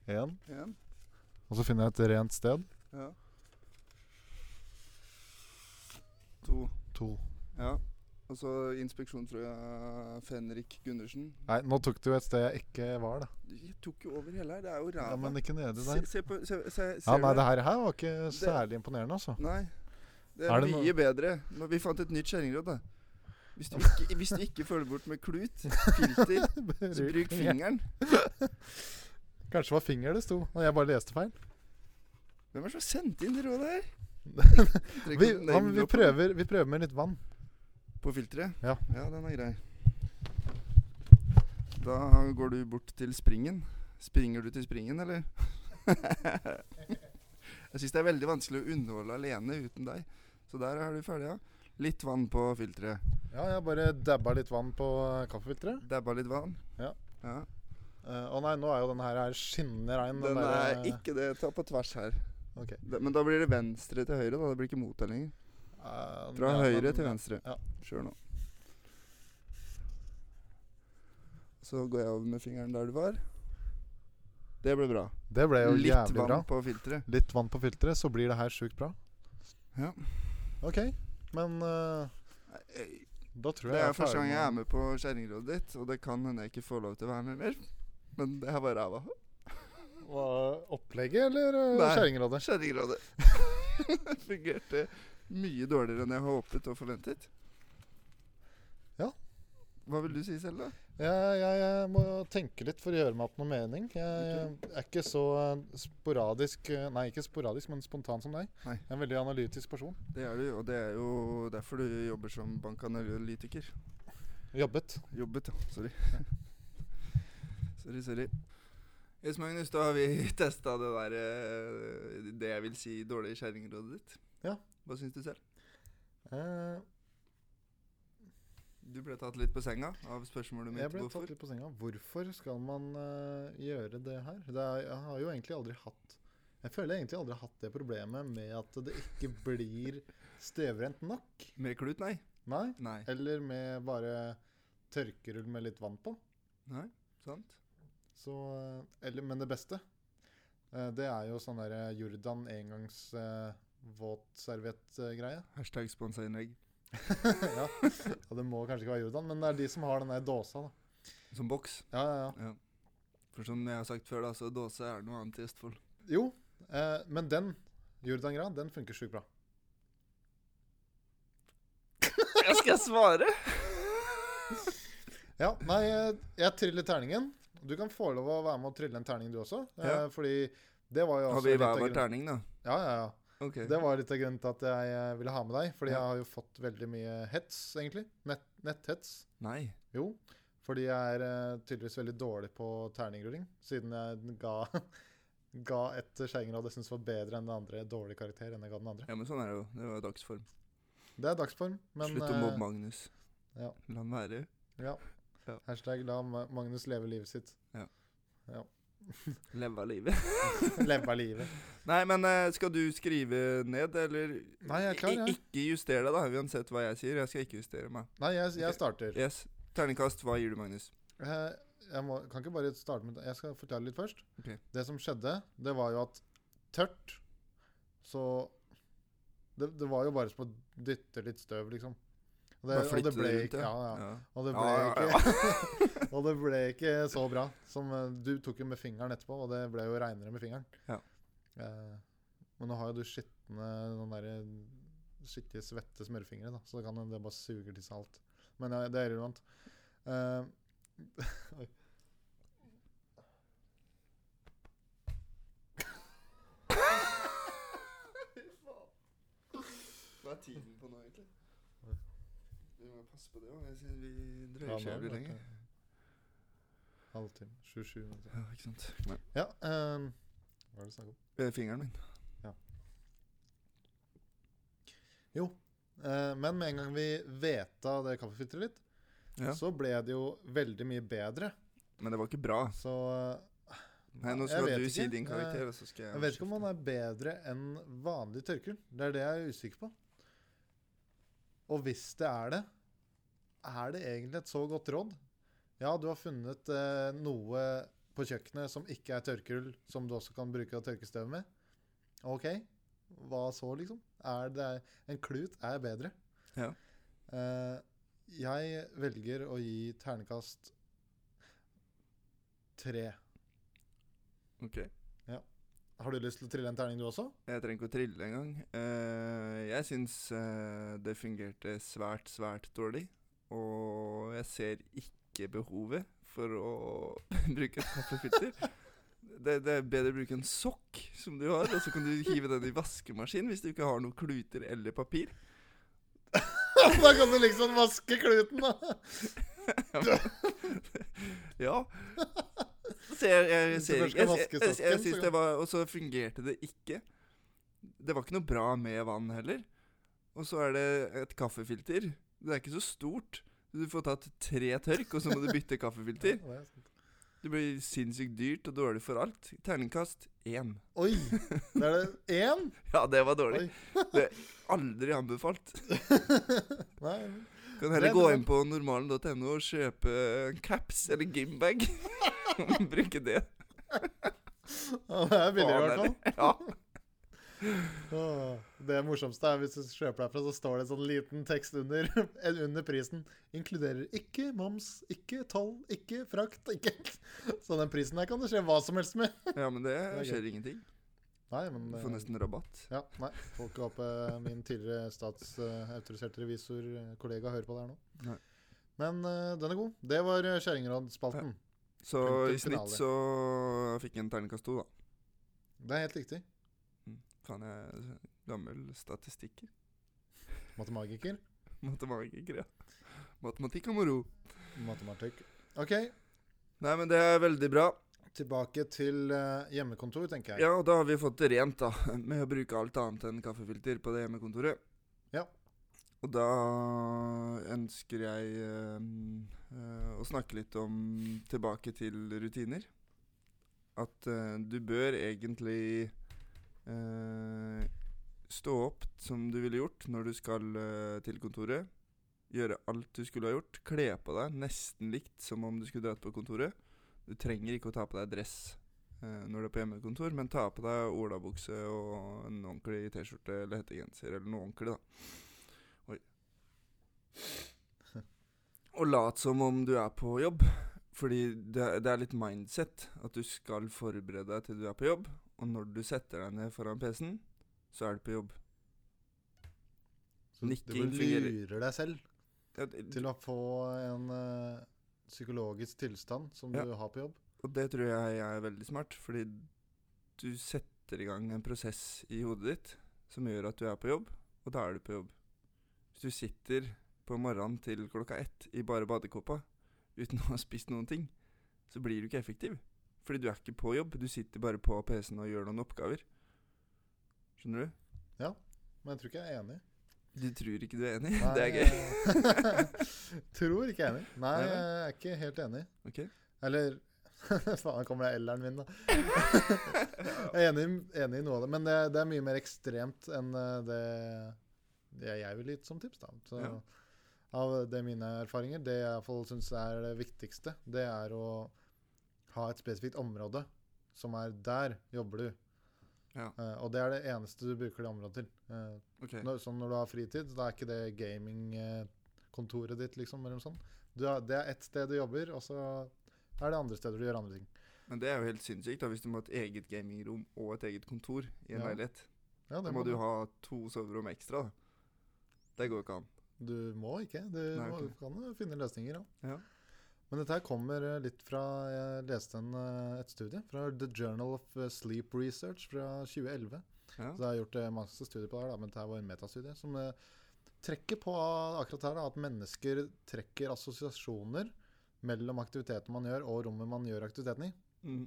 S1: Én.
S2: Igjen.
S1: Og så finner jeg et rent sted.
S2: Ja. To.
S1: To.
S2: Ja. altså, Og så inspeksjonsfrøya Fenrik Gundersen.
S1: Nei, nå tok du jo et sted jeg ikke var, da.
S2: Jeg tok jo over hele her. Det er jo ræva.
S1: Ja, men ikke nede
S2: se,
S1: der.
S2: se på se, se, Ser
S1: Ja, nei,
S2: du det?
S1: det her, her var ikke særlig imponerende, altså.
S2: Nei. Det er,
S1: Er det
S2: mye
S1: noe-
S2: bedre. Nå, vi fant et nytt kjerringråd, da. Hvis du, ikke, hvis du ikke følger bort med klut,
S1: (laughs)
S2: filter, så bruk fingeren.
S1: Kanskje det var finger det sto, og jeg bare leste feil.
S2: Hvem er det som har sendt inn det rådet
S1: (laughs)
S2: her? Trenger
S1: Vi, ja, men
S2: ikke å
S1: vi,
S2: name-droppe
S1: prøver, vi prøver med litt vann.
S2: På filteret?
S1: Ja.
S2: ja, den er grei. Da går du bort til springen. Springer du til springen, eller? (laughs) Jeg syns det er veldig vanskelig å underholde alene uten deg. Så der er du ferdig, ja. Litt vann på filteret.
S1: Ja, jeg bare dabba litt vann på eh, kaffefilteret.
S2: Dabba litt vann.
S1: Ja.
S2: ja.
S1: Eh, Å nei, nå er jo denne her er skinnende rein.
S2: Den
S1: der,
S2: er
S1: eh,
S2: ikke det. Ta på tvers her.
S1: Ok.
S2: Da- Men da blir det venstre til høyre. da Det blir ikke mot deg lenger.
S1: eh,
S2: Fra
S1: ja,
S2: høyre
S1: men-
S2: til venstre.
S1: ja.
S2: Kjør nå. Så går jeg over med fingeren der du var. Det ble bra.
S1: Det ble jo
S2: Litt
S1: jævlig
S2: vann
S1: bra.
S2: på filteret.
S1: Litt vann på filteret, så blir det her sjukt bra.
S2: Ja.
S1: OK, men eh,
S2: Eh,
S1: da tror jeg
S2: Det
S1: jeg
S2: er første
S1: ferdig
S2: gang jeg
S1: med-
S2: er med på kjerringrådet ditt, og det kan hende jeg ikke får lov til å være med mer. Men det her var ræva.
S1: Hva, Opplegget eller eh,
S2: Nei.
S1: Kjerringrådet?
S2: Kjerringrådet (laughs) fungerte mye dårligere enn jeg håpet og forventet.
S1: Ja.
S2: Hva vil du si selv, da?
S1: Jeg, jeg, jeg må tenke litt for å gjøre meg opp noe mening. Jeg, er ikke så eh, sporadisk eh, Nei, ikke sporadisk, men spontan som deg.
S2: Nei.
S1: Jeg er en veldig analytisk person.
S2: Det er du, og det er jo derfor du jobber som bankanalytiker.
S1: Jobbet.
S2: Jobbet, ja. Sorry. (laughs) sorry, sorry. Yes, Magnus, da har vi (laughs) testa det der eh, Det jeg vil si dårlige kjerringrådet ditt.
S1: Ja.
S2: Hva syns du selv?
S1: Eh,
S2: Du ble tatt litt på senga av
S1: jeg
S2: spørsmålet mitt.
S1: ble
S2: Hvorfor?
S1: tatt litt på senga. Hvorfor skal man eh, gjøre det her? Det er, jeg har jo egentlig aldri hatt Jeg føler jeg egentlig aldri har hatt det problemet med at det ikke blir støvrent nok.
S2: Med klut, nei?
S1: Nei.
S2: Nei.
S1: Eller med bare tørkerull med litt vann på.
S2: Nei, sant?
S1: Så, eh, eller, men det beste, eh, det er jo sånn der eh, Jordan engangs eh, våtserviett-greie.
S2: Hashtag sponsa innlegg.
S1: (laughs) ja. ja, det må kanskje ikke være Jordan, men det er de som har den der dåsa, da.
S2: Som boks.
S1: Ja, ja, ja.
S2: Ja. For som jeg har sagt før, da, så dåse er noe annet i
S1: (laughs)
S2: Østfold.
S1: Jo, eh, men den Jordan-greia, den funker sjukt bra.
S2: Jeg skal svare!
S1: Ja, nei, eh, jeg triller terningen. Du kan få lov å være med og trille en terning, du også. eh,
S2: Ja.
S1: Fordi det var jo
S2: Har
S1: også
S2: vi
S1: litt av
S2: hver vår
S1: grunnen-
S2: terning, da?
S1: Ja, ja, ja.
S2: Ok.
S1: Det var litt av grunnen til at jeg eh, ville ha med deg. Fordi
S2: Ja.
S1: jeg har jo fått veldig mye hets, egentlig. Nett, netthets.
S2: Nei.
S1: Jo. Fordi jeg er eh, tydeligvis veldig dårlig på terningrulling. Siden jeg ga, (laughs) ga et skjæringråd jeg syns var bedre enn det andre, dårlig karakter enn jeg ga den andre.
S2: Ja, men sånn er det jo. Det var jo dagsform.
S1: Det er dagsform, men
S2: Slutt å
S1: eh,
S2: mobbe Magnus.
S1: ja.
S2: La han være.
S1: Ja.
S2: Ja.
S1: Hashtag la Ma- Magnus leve livet sitt. (laughs)
S2: Leve av livet.
S1: Leve livet.
S2: (laughs) Nei, men eh, skal du skrive ned, eller
S1: Nei, jeg er klar,
S2: I-
S1: jeg.
S2: Ikke juster deg, da, uansett hva jeg sier. Jeg skal ikke justere meg.
S1: Nei, jeg,
S2: Ok.
S1: jeg starter.
S2: Yes. Terningkast, hva gir du, Magnus?
S1: Eh, Jeg må, kan ikke bare starte med Jeg skal fortelle litt først.
S2: Ok.
S1: Det som skjedde, det var jo at tørt Så det, det var jo bare som å dytte litt støv, liksom. Og det, og
S2: Bare
S1: det
S2: flytte
S1: ble
S2: det rundt,
S1: ikke,
S2: ja.
S1: ja, ja.
S2: Ja.
S1: Og, det ble
S2: Ja, ja,
S1: Ikke, (laughs) og det ble ikke så bra. Som, eh, du tok jo med fingeren etterpå, og det ble jo reinere med fingeren.
S2: Ja.
S1: Eh, men nå har jo du skitne den derre skittige, svette smørfingre, da, så det kan hende det bare suger til seg alt. Men eh, det er irrelevant. Eh, oi.
S2: Hva er tiden på nå, egentlig? Vi må passe på det òg. Vi
S1: Ja,
S2: drøyer
S1: nå
S2: ikke
S1: har
S2: jævlig
S1: det vært,
S2: lenge.
S1: eh, Halvtime. 27 minutter.
S2: Ja, ikke sant. Men,
S1: Ja, eh, hva er det du snakker om?
S2: eh, fingeren min.
S1: Jo. eh, men med en gang vi veta det kaffefilteret litt,
S2: Ja.
S1: så ble det jo veldig mye bedre.
S2: Men det var ikke bra.
S1: Så eh,
S2: Nei, nå
S1: Jeg
S2: skal
S1: vet
S2: du si
S1: ikke. Eh,
S2: din karakter, og så skal jeg
S1: jeg vet ikke om han er bedre enn vanlig tørker. Det er det jeg er usikker på. Og hvis det er det, er det egentlig et så godt råd? Ja, du har funnet eh, noe på kjøkkenet som ikke er tørkerull, som du også kan bruke å tørke støv med. OK, hva så, liksom? Er det En klut er bedre.
S2: Ja.
S1: Eh, jeg velger å gi ternekast tre.
S2: Ok.
S1: Har du lyst til å trille en terning, du også?
S2: Jeg trenger ikke å trille engang. Eh, jeg syns eh, det fungerte svært, svært dårlig. Og jeg ser ikke behovet for å (laughs) bruke et kaffefilter. Det, det er bedre å bruke en sokk som du har, og så kan du hive den i vaskemaskinen hvis du ikke har noen kluter eller papir.
S1: (laughs) da kan du liksom vaske kluten, da!
S2: (laughs) Ja. Så jeg, jeg,
S1: Hvis du
S2: ser
S1: først
S2: ikke
S1: skal
S2: Jeg, jeg,
S1: vaske
S2: jeg, jeg
S1: sokken, så
S2: synes
S1: kan-
S2: det var Og så fungerte det ikke. Det var ikke noe bra med vann heller. Og så er det et kaffefilter. Det er ikke så stort. Du får tatt tre tørk, og så må du bytte kaffefilter.
S1: Ja, det er sant.
S2: Det blir sinnssykt dyrt og dårlig for alt. Terningkast én.
S1: Oi! Da er det én? (laughs)
S2: Ja, (laughs) det var dårlig.
S1: Oi.
S2: Aldri anbefalt.
S1: Nei.
S2: Kan heller
S1: Det-
S2: gå
S1: det-
S2: inn på normalen.no og kjøpe en caps eller gymbag. (laughs) Bruke det.
S1: Ja, Det er billigere, i hvert fall.
S2: Faen,
S1: (laughs)
S2: eller- Ja.
S1: Åh, Det morsomste er hvis du kjøper derfra, så står det en sånn liten tekst under, (laughs) under prisen. Inkluderer ikke moms, ikke toll, ikke frakt, ikke (laughs) Så den prisen her kan det skje hva som helst med.
S2: Ja, men det
S1: er gøy.
S2: skjer ingenting.
S1: Nei, men
S2: Du
S1: eh,
S2: får nesten rabatt.
S1: Ja, nei. Får ikke håpe min tidligere eh, statsautoriserte revisor-kollega eh, hører på det her nå.
S2: Nei.
S1: Men eh, den er god. Det var eh, Kjerringrådspalten.
S2: Så
S1: Punkt til
S2: i snitt
S1: finale.
S2: så fikk jeg en terningkast to, da.
S1: Det er helt riktig.
S2: Faen, jeg er gammel statistikker. (laughs)
S1: Matematiker.
S2: Matematiker, ja. Matematikk og moro.
S1: Matematikk. OK,
S2: Nei, men det er veldig bra.
S1: tilbake til eh, hjemmekontor, tenker jeg.
S2: Ja, og da har vi fått det rent, da. (laughs) Med å bruke alt annet enn kaffefilter på det hjemmekontoret.
S1: Ja.
S2: Og da ønsker jeg eh, eh, å snakke litt om tilbake til rutiner. At eh, du bør egentlig eh, stå opp som du ville gjort når du skal eh, til kontoret. Gjøre alt du skulle ha gjort. Kle på deg nesten likt som om du skulle dratt på kontoret. Du trenger ikke å ta på deg dress eh, når du er på hjemmekontor, men ta på deg olabukse og en ordentlig T-skjorte eller hettegenser eller noe ordentlig, da. Oi. Og lat som om du er på jobb, fordi det, det er litt mindset at du skal forberede deg til du er på jobb, og når du setter deg ned foran PC-en, så er du på jobb.
S1: Så
S2: nikking
S1: du
S2: fungerer.
S1: lurer deg selv
S2: Ja, det-
S1: til å få en eh, psykologisk tilstand som
S2: Ja.
S1: du har på jobb.
S2: Og det tror jeg er veldig smart, fordi du setter i gang en prosess i hodet ditt som gjør at du er på jobb, og da er du på jobb. Hvis du sitter på morgenen til klokka ett i bare badekåpa uten å ha spist noen ting, så blir du ikke effektiv. Fordi du er ikke på jobb, du sitter bare på PC-en og gjør noen oppgaver. Skjønner du?
S1: Men jeg tror ikke jeg er enig.
S2: Du tror ikke du er enig? (laughs)
S1: Nei,
S2: det er gøy.
S1: jeg (laughs) tror ikke jeg er enig. Nei,
S2: Nei, nei.
S1: jeg er ikke helt enig.
S2: Ok.
S1: Eller (laughs) Faen, kommer det L-eren min, da.
S2: (laughs)
S1: Jeg er enig, enig i noe av det, men det, det er mye mer ekstremt enn eh, det, det jeg ville gitt som tips. da. Så,
S2: Ja.
S1: Av det mine erfaringer, det jeg i hvert fall syns er det viktigste, det er å ha et spesifikt område som er der jobber du.
S2: Ja.
S1: Eh, og det er det eneste du bruker det området til. Eh,
S2: (laughs) ok.
S1: når, sånn når du har fritid, da er ikke det gaming eh, kontoret ditt, liksom. Eller noe sånt. Du, har- det er ett sted du jobber, og så er det andre steder du gjør andre ting.
S2: Men det er jo helt sinnssykt da, hvis du må ha et eget gamingrom og et eget kontor i
S1: Ja,
S2: en leilighet.
S1: Ja,
S2: Da
S1: det
S2: må du
S1: du
S2: ha to soverom ekstra. da. Det går jo ikke an.
S1: Du må ikke. Du
S2: Nei,
S1: må,
S2: ok.
S1: kan jo finne løsninger, ja.
S2: Ja.
S1: Men dette her kommer eh, litt fra Jeg leste en, eh, et studie fra The Journal of eh, Sleep Research fra 2011.
S2: Ja.
S1: Så jeg har gjort eh, masse studier på det, her da, men dette her var en metastudie som eh, trekker på akkurat her da, at mennesker trekker assosiasjoner mellom aktiviteten man gjør, og rommet man gjør aktiviteten i.
S2: Mm.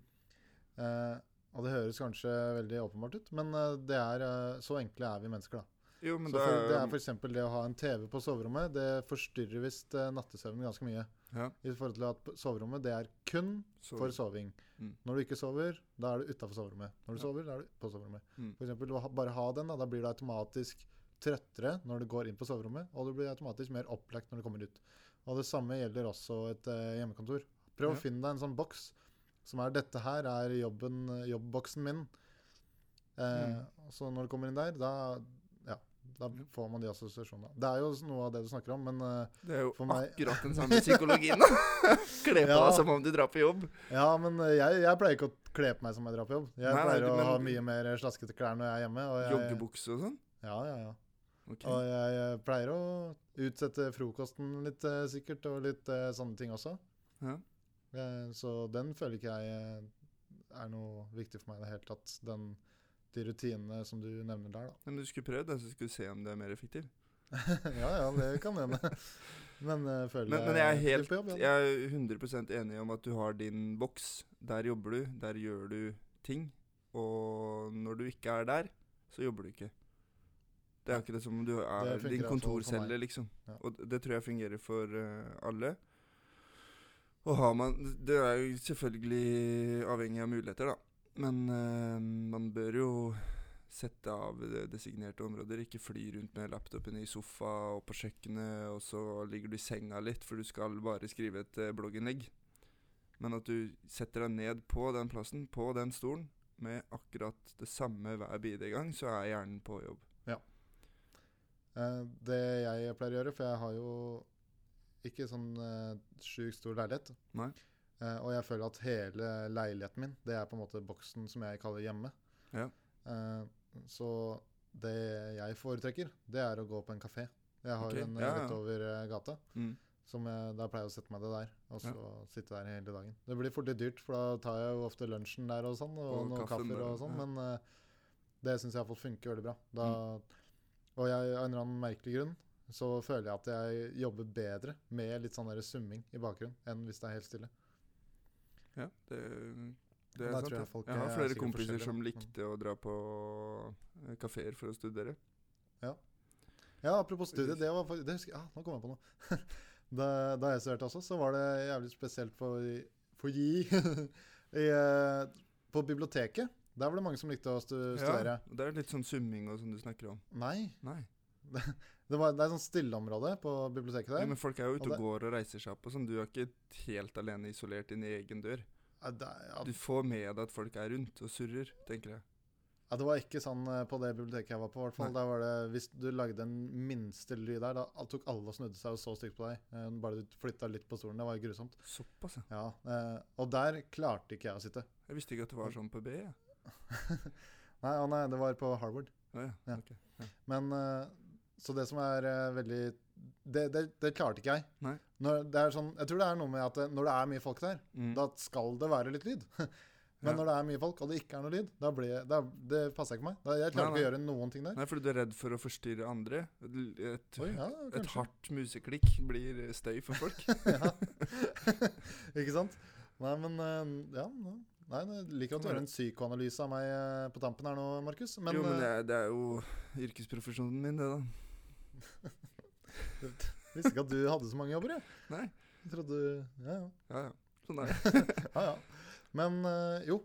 S1: Eh, og det høres kanskje veldig åpenbart ut, men eh, det er, eh, så enkle er vi mennesker, da.
S2: Jo, men
S1: Så for, det er
S2: da
S1: f.eks. det å ha en TV på soverommet. Det forstyrrer visst eh, nattesøvnen ganske mye.
S2: Ja.
S1: I forhold til at p- soverommet det er kun
S2: så-
S1: for soving.
S2: Mm.
S1: Når du ikke sover, da er du utafor soverommet. Når du
S2: Ja.
S1: sover, da er du på soverommet.
S2: Mm.
S1: For eksempel, å ha- bare ha den, da, da blir du automatisk trøttere når du går inn på soverommet, og du blir automatisk mer opplagt når du kommer ut. Og det samme gjelder også et eh, hjemmekontor. Prøv å
S2: Ja.
S1: finne deg en sånn boks som er 'dette her er jobben, jobbboksen min'. Eh,
S2: Mm.
S1: Så når du kommer inn der, da, ja, da
S2: Ja.
S1: får man de assosiasjonene. Det er jo s- noe av det du snakker om, men eh,
S2: Det er jo
S1: for meg-
S2: akkurat den samme psykologien. da. (laughs) Kle på
S1: Ja.
S2: deg som om du drar på jobb.
S1: Ja, men eh, jeg, jeg pleier ikke å kle på meg som jeg drar på jobb. Jeg
S2: Nei, nei,
S1: pleier
S2: du-
S1: å
S2: men-
S1: ha mye mer slaskete klær når jeg er hjemme. Og jeg,
S2: Joggebukse og sånn.
S1: Ja, ja, ja.
S2: Ok.
S1: Og jeg, eh, pleier å utsette frokosten litt eh, sikkert, og litt eh, sånne ting også.
S2: Ja.
S1: Eh, så den føler ikke jeg eh, er noe viktig for meg i det hele tatt. Den, de rutinene som du nevner der, da. (laughs)
S2: Nei, Men du skulle prøvd, da, så skulle du se om det er mer effektiv.
S1: ja, ja, det kan hende. (laughs) Men eh, føler
S2: Men, men jeg er
S1: aktiv
S2: helt
S1: på jobb, ja.
S2: Jeg er 100 enig om at du har din boks. Der jobber du, der gjør du ting. Og når du ikke er der, så jobber du ikke. Det er akkurat som om du er
S1: Det fungerer
S2: din
S1: i hvert fall for
S2: kontorcelle,
S1: meg.
S2: liksom.
S1: Ja.
S2: Og d- det tror jeg fungerer for eh, alle. Og har man Det er jo selvfølgelig avhengig av muligheter, da. Men eh, man bør jo sette av det- designerte områder. Ikke fly rundt med laptopen i sofa og på kjøkkenet, og så ligger du i senga litt, for du skal bare skrive et eh, blogginnlegg. Men at du setter deg ned på den plassen, på den stolen, med akkurat det samme hver bidige gang, så er hjernen på jobb.
S1: Eh, Det jeg pleier å gjøre, for jeg har jo ikke sånn eh, sjukt stor leilighet.
S2: Nei.
S1: Eh, og jeg føler at hele leiligheten min, det er på en måte boksen som jeg kaller hjemme.
S2: Ja.
S1: Eh, så det jeg foretrekker, det er å gå på en kafé. Jeg har
S2: Ok,
S1: en eh,
S2: ja, ja.
S1: rett over eh, gata.
S2: Mm.
S1: Som jeg, da pleier jeg å sette meg det der, og så sitte der hele dagen. Det blir fort litt dyrt, for da tar jeg jo ofte lunsjen der og sånn, og,
S2: Og
S1: noen
S2: kaffen
S1: kaffer
S2: der,
S1: og sånn,
S2: ja. Mm.
S1: men eh, det syns jeg iallfall funker veldig bra. Da, Og jeg, av en eller annen merkelig grunn så føler jeg at jeg jobber bedre med litt sånn der summing i bakgrunnen enn hvis det er helt stille.
S2: Ja, det, det
S1: Da tror
S2: er sant.
S1: jeg
S2: det.
S1: folk
S2: jeg
S1: er
S2: har flere
S1: sikkert
S2: kompiser
S1: forskjellige,
S2: som
S1: da. Mm.
S2: likte å dra på eh, kafeer for å studere.
S1: Ja, apropos studie, det var for- det husker, ah, Nå kom jeg på noe. (laughs) da, da jeg studerte også, så var det jævlig spesielt for, for gi (laughs) I, eh, På biblioteket. Der var det mange som likte å stu, studere.
S2: Ja, og det er litt sånn summing og sånn du snakker om.
S1: Nei,
S2: Nei.
S1: det, var, det er et sånt stilleområde på biblioteket
S2: Jo,
S1: der.
S2: men folk er jo
S1: Og
S2: ute og
S1: det-
S2: går og reiser seg opp og sånn. Du er ikke helt alene isolert i din egen dør.
S1: Ja, det, er- ja,
S2: Du får med deg at folk er rundt og surrer, tenker jeg.
S1: ja, det var ikke sånn eh, på det biblioteket jeg var på. i hvert fall.
S2: Nei.
S1: Der var det, Hvis du lagde en minste lyd der, da tok alle og snudde seg og så stygt på deg. eh, Bare du flytta litt på stolen. Det var jo grusomt.
S2: Såpass, ja.
S1: Ja, eh, Og der klarte ikke jeg å sitte.
S2: Jeg visste ikke at det var sånn på B. Ja.
S1: Nei, å nei, det var på Harvard.
S2: Å, ja.
S1: Ja.
S2: ok.
S1: Men eh, Så det som er eh, veldig det, det, det klarte ikke jeg.
S2: Nei.
S1: Når det er sånn, jeg tror det er noe med at eh, når det er mye folk der,
S2: Mm.
S1: da skal det være litt lyd. (laughs) Men
S2: Ja.
S1: når det er mye folk, og det ikke er noe lyd, da blir jeg- da, det passer ikke meg. Da, jeg klarer
S2: Nei,
S1: ikke å gjøre noen ting der.
S2: Nei, fordi du er redd for å forstyrre andre. Et, et,
S1: Oi, ja,
S2: et
S1: kanskje.
S2: hardt museklikk blir støy for folk.
S1: ja. (laughs) ikke sant? Nei, men eh, ja, nei. Nei, jeg liker at du gjør en psykoanalyse av meg eh, på tampen her nå, Markus. (laughs) Men,
S2: jo, men det
S1: eh,
S2: er, det er jo yrkesprofesjonen min, det, da.
S1: jeg visste ikke at du hadde så mange jobber, jeg.
S2: (laughs) Nei.
S1: Jeg trodde Ja, ja.
S2: Ja, ja. Sånn er det.
S1: Ja, ja. Men eh, jo,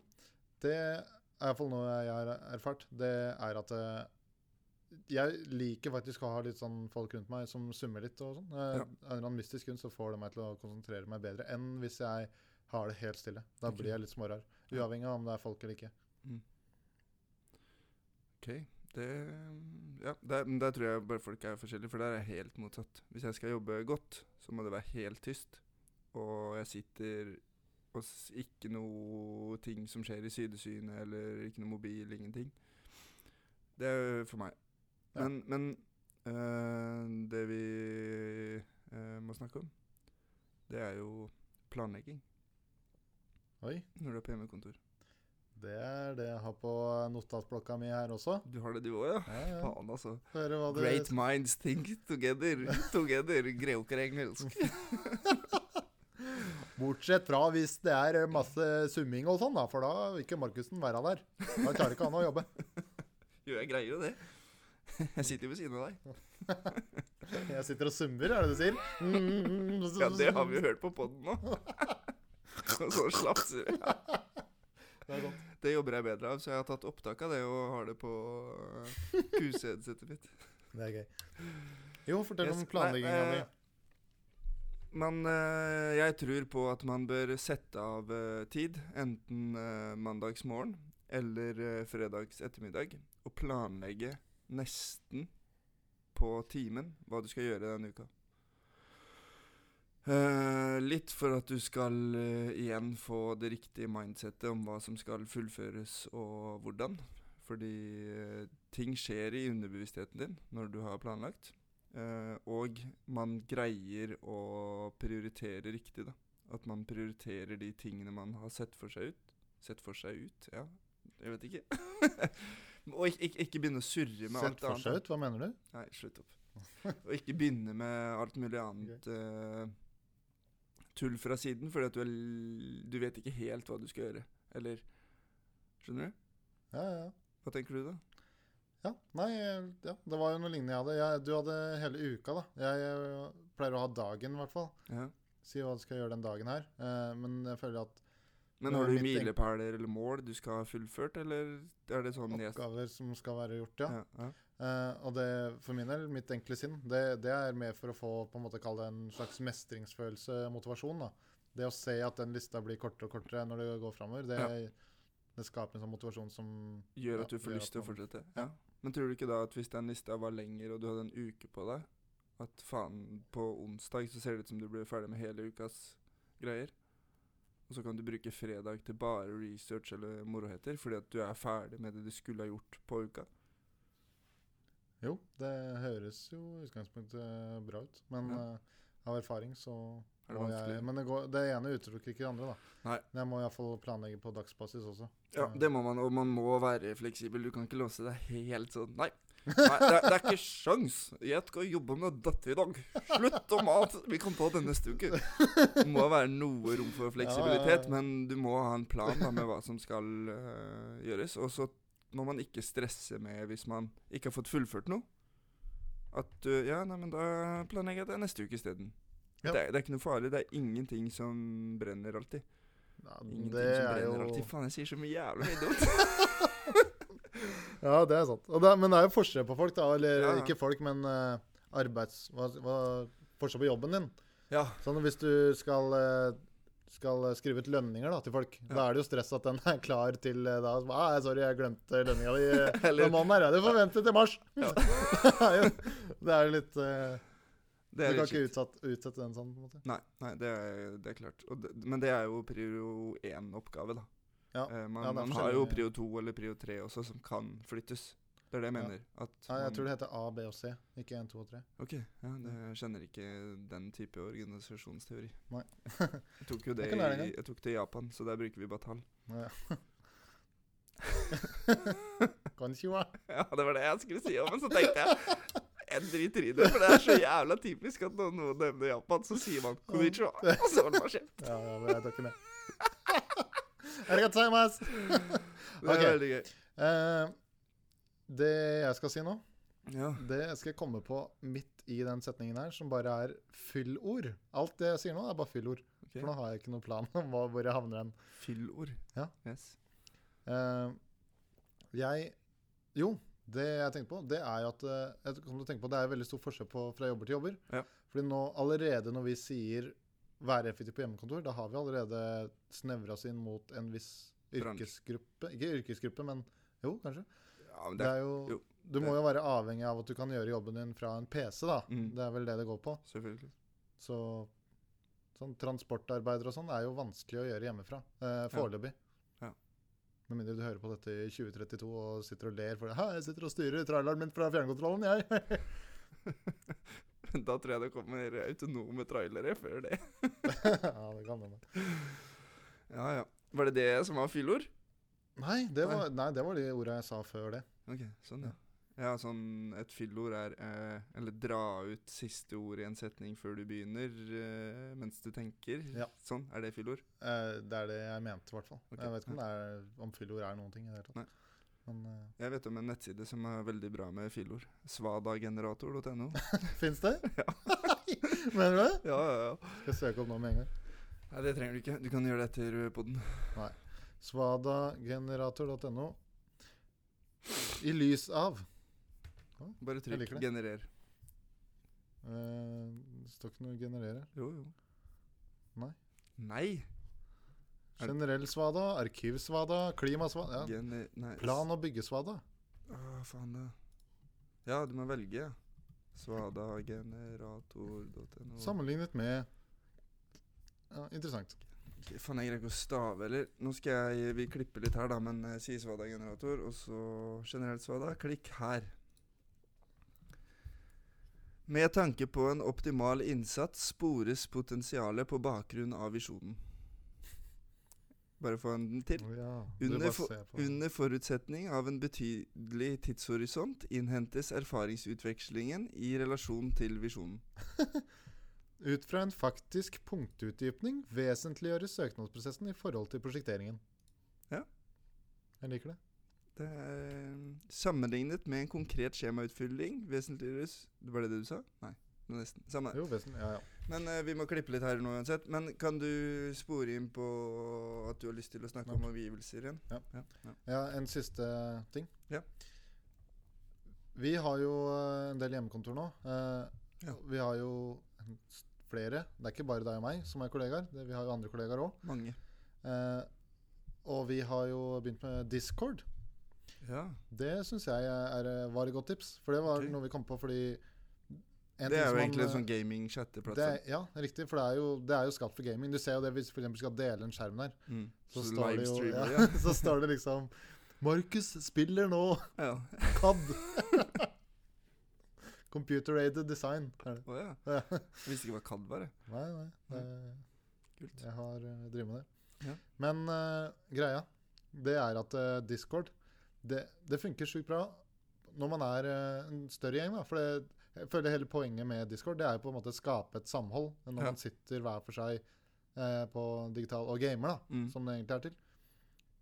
S1: det er iallfall noe jeg har erfart. Det er at eh, jeg liker faktisk å ha litt sånn folk rundt meg som summer litt og sånn. Eh, Av
S2: Ja.
S1: en eller annen mystisk grunn så får det meg til å konsentrere meg bedre enn hvis jeg har det helt stille. Da
S2: Ok.
S1: blir jeg litt smårar.
S2: Ja.
S1: Uavhengig av om det er folk eller ikke.
S2: Ok. Det, ja, der, men der tror jeg bare folk er forskjellige, for der er jeg helt motsatt. Hvis jeg skal jobbe godt, så må det være helt tyst. Og jeg sitter og s- ikke noe ting som skjer i sidesynet, eller ikke noe mobil, ingenting. Det er for meg.
S1: Ja.
S2: Men, men øh, det vi øh, må snakke om, det er jo planlegging
S1: Oi.
S2: når du er på hjemmekontor.
S1: Det er det jeg har på notatblokka mi her også.
S2: Du har det du òg, ja?
S1: Ja, ja.
S2: Faen, altså.
S1: Høre hva det
S2: Great minds think together. Together. Greier jo ikke engelsk.
S1: Bortsett fra hvis det er masse summing og sånn, da, for da vil ikke Markussen være der. Da klarer ikke han å jobbe.
S2: Jo, jeg greier jo det. Jeg sitter jo ved siden av deg.
S1: Jeg sitter og summer, er det du sier? Mm,
S2: Ja, det har vi jo hørt på poden nå. (laughs) Og så slapser jeg.
S1: Det er godt.
S2: Det jobber jeg bedre av, så jeg har tatt opptak av det og har det på eh, kuseheadsetet mitt.
S1: Det er gøy. Jo, fortell om
S2: Yes,
S1: planlegginga
S2: nei,
S1: di.
S2: eh, Man, eh, jeg tror på at man bør sette av eh, tid, enten eh, mandagsmorgen eller eh, fredags ettermiddag, og planlegge nesten på timen hva du skal gjøre denne uka. Eh, litt for at du skal eh, igjen få det riktige mindsettet om hva som skal fullføres og hvordan. Fordi eh, ting skjer i underbevisstheten din når du har planlagt. Eh, og man greier å prioritere riktig, da. At man prioriterer de tingene man har sett for seg ut. Sett for seg ut, ja. Jeg vet ikke. (laughs) og ikke, ikke, ikke begynne å surre med
S1: Sett
S2: alt
S1: for
S2: annet.
S1: seg ut, hva mener du?
S2: Nei, slutt opp. Og ikke begynne med alt mulig annet eh, tull fra siden, fordi at du, er l du vet ikke helt hva du skal gjøre. Eller Skjønner du?
S1: Ja, ja.
S2: Hva tenker du, da?
S1: Ja, nei, ja, det var jo noe lignende jeg hadde. Jeg, du hadde hele uka, da. Jeg, eh, pleier å ha dagen, i hvert fall.
S2: Ja.
S1: Si hva du skal gjøre den dagen her. Eh, men jeg føler at
S2: Men
S1: Det
S2: har
S1: var
S2: du
S1: mitt tenk-
S2: milepæler eller mål du skal ha fullført, eller er det sånn jeg-
S1: oppgaver som skal være gjort, ja.
S2: Ja, ja.
S1: Eh, og det, for min del, mitt enkle sinn, det, det er mer for å få på en måte kalle det en slags mestringsfølelse, motivasjon. da. Det å se at den lista blir kortere og kortere når det går framover, det, det skaper en sånn motivasjon som
S2: Gjør at
S1: Ja,
S2: du får
S1: gjør
S2: lyst
S1: at
S2: til å
S1: man-
S2: fortsette. Ja. Men tror du ikke da at hvis den lista var lengre, og du hadde en uke på deg, at faen, på onsdag så ser det ut som du blir ferdig med hele ukas greier? Og så kan du bruke fredag til bare research eller moroheter, fordi at du er ferdig med det du skulle ha gjort på uka.
S1: Jo, det høres jo i utgangspunktet bra ut, men
S2: Ja.
S1: eh, av erfaring så
S2: Er det
S1: må
S2: vanskelig?
S1: jeg, Men det, går, det ene utelukker ikke det andre, da.
S2: Nei.
S1: Men jeg må iallfall planlegge på dagsbasis også. Eh. Ja.
S2: Ja, det må man, og man må være fleksibel. Du kan ikke låse deg helt sånn Nei, nei det, er, det er ikke sjans. Jeg skal jobbe med dette i dag. Slutt å mate! Vi kan ta det neste uke. Det må være noe rom for fleksibilitet,
S1: Ja, ja, ja.
S2: men du må ha en plan da, med hva som skal øh, gjøres. Og så må man ikke stresse med hvis man ikke har fått fullført noe. At øh, Ja, nei, men da planlegger jeg det neste uke isteden.
S1: Ja.
S2: Det, er- det er ikke noe farlig. Det er ingenting som brenner alltid.
S1: (laughs) Ja,
S2: Ingenting
S1: det
S2: som
S1: er
S2: brenner
S1: jo
S2: alltid. Faen, jeg sier så mye jævla mye dumt.
S1: (laughs) Ja, det er sant. Og det, er- men det er jo forskjell på folk, da. Eller
S2: Ja, ja.
S1: ikke folk, men eh, arbeids... Hva, hva, forskjell på jobben din.
S2: Ja.
S1: Sånn hvis du skal, eh, skal skrive ut lønninger da, til folk, da er det jo stress at den er klar til eh, da. Ah, 'Sorry, jeg glemte lønninga
S2: (laughs)
S1: di eh,
S2: Eller-
S1: den måneden her. Ja, du får vente til mars.' (laughs) det er
S2: Ja.
S1: jo det er jo litt eh,
S2: Det er
S1: Du kan
S2: litt
S1: ikke
S2: kjipt.
S1: utsatt, utsette den sånn, på en måte.
S2: Nei, nei det, er, det er klart. Og det, men det er jo prio én-oppgave, da.
S1: Ja,
S2: Eh, man,
S1: ja, det er
S2: man har jo
S1: forskjellige-
S2: prio to eller prio tre også, som kan flyttes. Det er det jeg
S1: Ja.
S2: mener. At
S1: Nei, jeg
S2: man-
S1: tror det heter A, B og C, ikke 1, 2 og 3.
S2: Ok, ja, det, jeg kjenner ikke den type organisasjonsteori.
S1: Nei.
S2: (laughs) jeg tok jo det
S1: Jeg kan lære
S2: i,
S1: det.
S2: jeg tok det i Japan, så der bruker vi bare tall. (laughs)
S1: Ja.
S2: (laughs)
S1: Konnichiwa.
S2: Ja, det var det jeg skulle si òg, men så tenkte jeg jeg driter i det, for det er så jævla typisk at når noen nevner Japan, så sier man konnichiwa, og så var det bare kjeft.
S1: Ja, ja, men jeg tar ikke (laughs) med. Arigataimas!
S2: Det er
S1: Ok.
S2: veldig gøy.
S1: Eh, det jeg skal si nå,
S2: Ja.
S1: det skal jeg komme på midt i den setningen her, som bare er fyllord. Alt det jeg sier nå, er bare fyllord.
S2: Ok.
S1: For nå har jeg ikke noen plan om hva- hvor jeg havner hen.
S2: Fyllord.
S1: Ja.
S2: Yes.
S1: Eh, jeg Jo, det jeg tenker på, det er jo at eh, jeg kom til å tenke på, det er veldig stor forskjell på fra jobber til jobber.
S2: Ja.
S1: Fordi nå, allerede når vi sier 'være effektiv på hjemmekontor', da har vi allerede snevra oss inn mot en viss
S2: Bransje.
S1: yrkesgruppe. Ikke yrkesgruppe, men jo, kanskje.
S2: Ja, men
S1: Det
S2: det,
S1: er jo
S2: jo,
S1: Du må jo være avhengig av at du kan gjøre jobben din fra en PC, da.
S2: Mm.
S1: Det er vel det det går på.
S2: (laughs) Selvfølgelig.
S1: Så sånn transportarbeider og sånn er jo vanskelig å gjøre hjemmefra. Eh, Foreløpig.
S2: Ja.
S1: Med mindre du hører på dette i 2032 og sitter og ler fordi 'Hæ, jeg sitter og styrer traileren min fra fjernkontrollen, jeg'. (laughs)
S2: Da tror jeg det kommer autonome trailere før det.
S1: ja, det kan hende.
S2: Ja, ja. Var det det som var fyllord?
S1: Nei, det var, nei, det var de ordene jeg sa før det.
S2: Ok, sånn ja. Ja, sånn et fyllord er eh, Eller dra ut siste ord i en setning før du begynner, eh, mens du tenker.
S1: Ja.
S2: Sånn, er det fyllord?
S1: Eh, det er det jeg mente, i hvert fall.
S2: Ok,
S1: Jeg vet ikke om, det er, om fyllord er noen ting. i det hele
S2: Nei.
S1: tatt. Men uh,
S2: Jeg vet om en nettside som er veldig bra med fyllord. Svadagenerator.no.
S1: fins eh, det? (laughs) Mener du det?
S2: (laughs) ja, ja, ja.
S1: Skal jeg søke opp nå med en gang.
S2: Nei, det trenger du ikke. Du kan gjøre det etter poden.
S1: Svadagenerator.no. I lys av
S2: Bare
S1: Jeg
S2: trykk
S1: liker det.
S2: 'generer'.
S1: Eh, Det står ikke noe 'generere'.
S2: Jo, jo.
S1: Nei.
S2: Nei? Er det-
S1: Generell svada, arkivsvada, klimasvada ja.
S2: Gener... Nei.
S1: Plan- og byggesvada.
S2: Å, Ah, faen det. Ja, du må velge. Svadagenerator.no.
S1: Sammenlignet med ja, Interessant.
S2: Ok, Faen, jeg greier ikke å stave heller. Nå skal jeg Vi klipper litt her, da, men eh, si svada-generator, og så generelt svada. Klikk her. Med tanke på en optimal innsats spores potensialet på bakgrunn av visjonen. Bare få en til.
S1: Ja, du
S2: Under
S1: bare
S2: for-
S1: ser på.
S2: Under forutsetning av en betydelig tidshorisont innhentes erfaringsutvekslingen i relasjon til visjonen.
S1: Ut fra en faktisk punktutdypning vesentliggjøres søknadsprosessen i forhold til prosjekteringen.
S2: Ja.
S1: Jeg liker det.
S2: Det er eh, sammenlignet med en konkret skjemautfylling vesentliggjøres Var det det du sa? Nei. det var Nesten. Samme.
S1: Jo, vesentlig. Ja, ja.
S2: Men eh, vi må klippe litt her nå uansett. Men kan du spore inn på at du har lyst til å snakke om omgivelser igjen?
S1: Ja.
S2: ja. ja.
S1: Ja, en siste ting.
S2: Ja.
S1: Vi har jo eh, en del hjemmekontor nå. eh,
S2: Ja.
S1: Vi har jo en s- flere, det er ikke bare deg og meg som er kollegaer, det, vi har jo andre kollegaer òg.
S2: Mange.
S1: og vi har jo begynt med Discord.
S2: Ja.
S1: Det syns jeg er, eh, var et godt tips, for det var
S2: Ok.
S1: noe vi kom på fordi en
S2: det
S1: ting
S2: er
S1: som
S2: jo
S1: man,
S2: egentlig en
S1: eh,
S2: sånn
S1: det
S2: gaming-chatteplattform.
S1: er, Ja, riktig, for det er, jo, det er jo skapt for gaming. Du ser jo det hvis du f.eks. skal dele en skjerm der,
S2: Mm.
S1: så,
S2: Så
S1: står det jo (laughs)
S2: livestreamer,
S1: ja, Så står det liksom 'Markus spiller nå
S2: ja. ja.
S1: CAD'. (laughs) Computer-aided design. Er det. (laughs)
S2: Å ja.
S1: Ja.
S2: Jeg visste ikke hva CAD var, jeg.
S1: Nei, nei. det-
S2: Kult.
S1: Jeg har eh, drevet med det.
S2: Ja.
S1: Men eh, greia, det er at eh, Discord, det, det funker sjukt bra når man er eh, en større gjeng. da, for det, jeg føler hele poenget med Discord det er jo på en måte å skape et samhold når
S2: Ja.
S1: man sitter hver for seg eh, på digital og gamer, da,
S2: Mm.
S1: som det egentlig er til.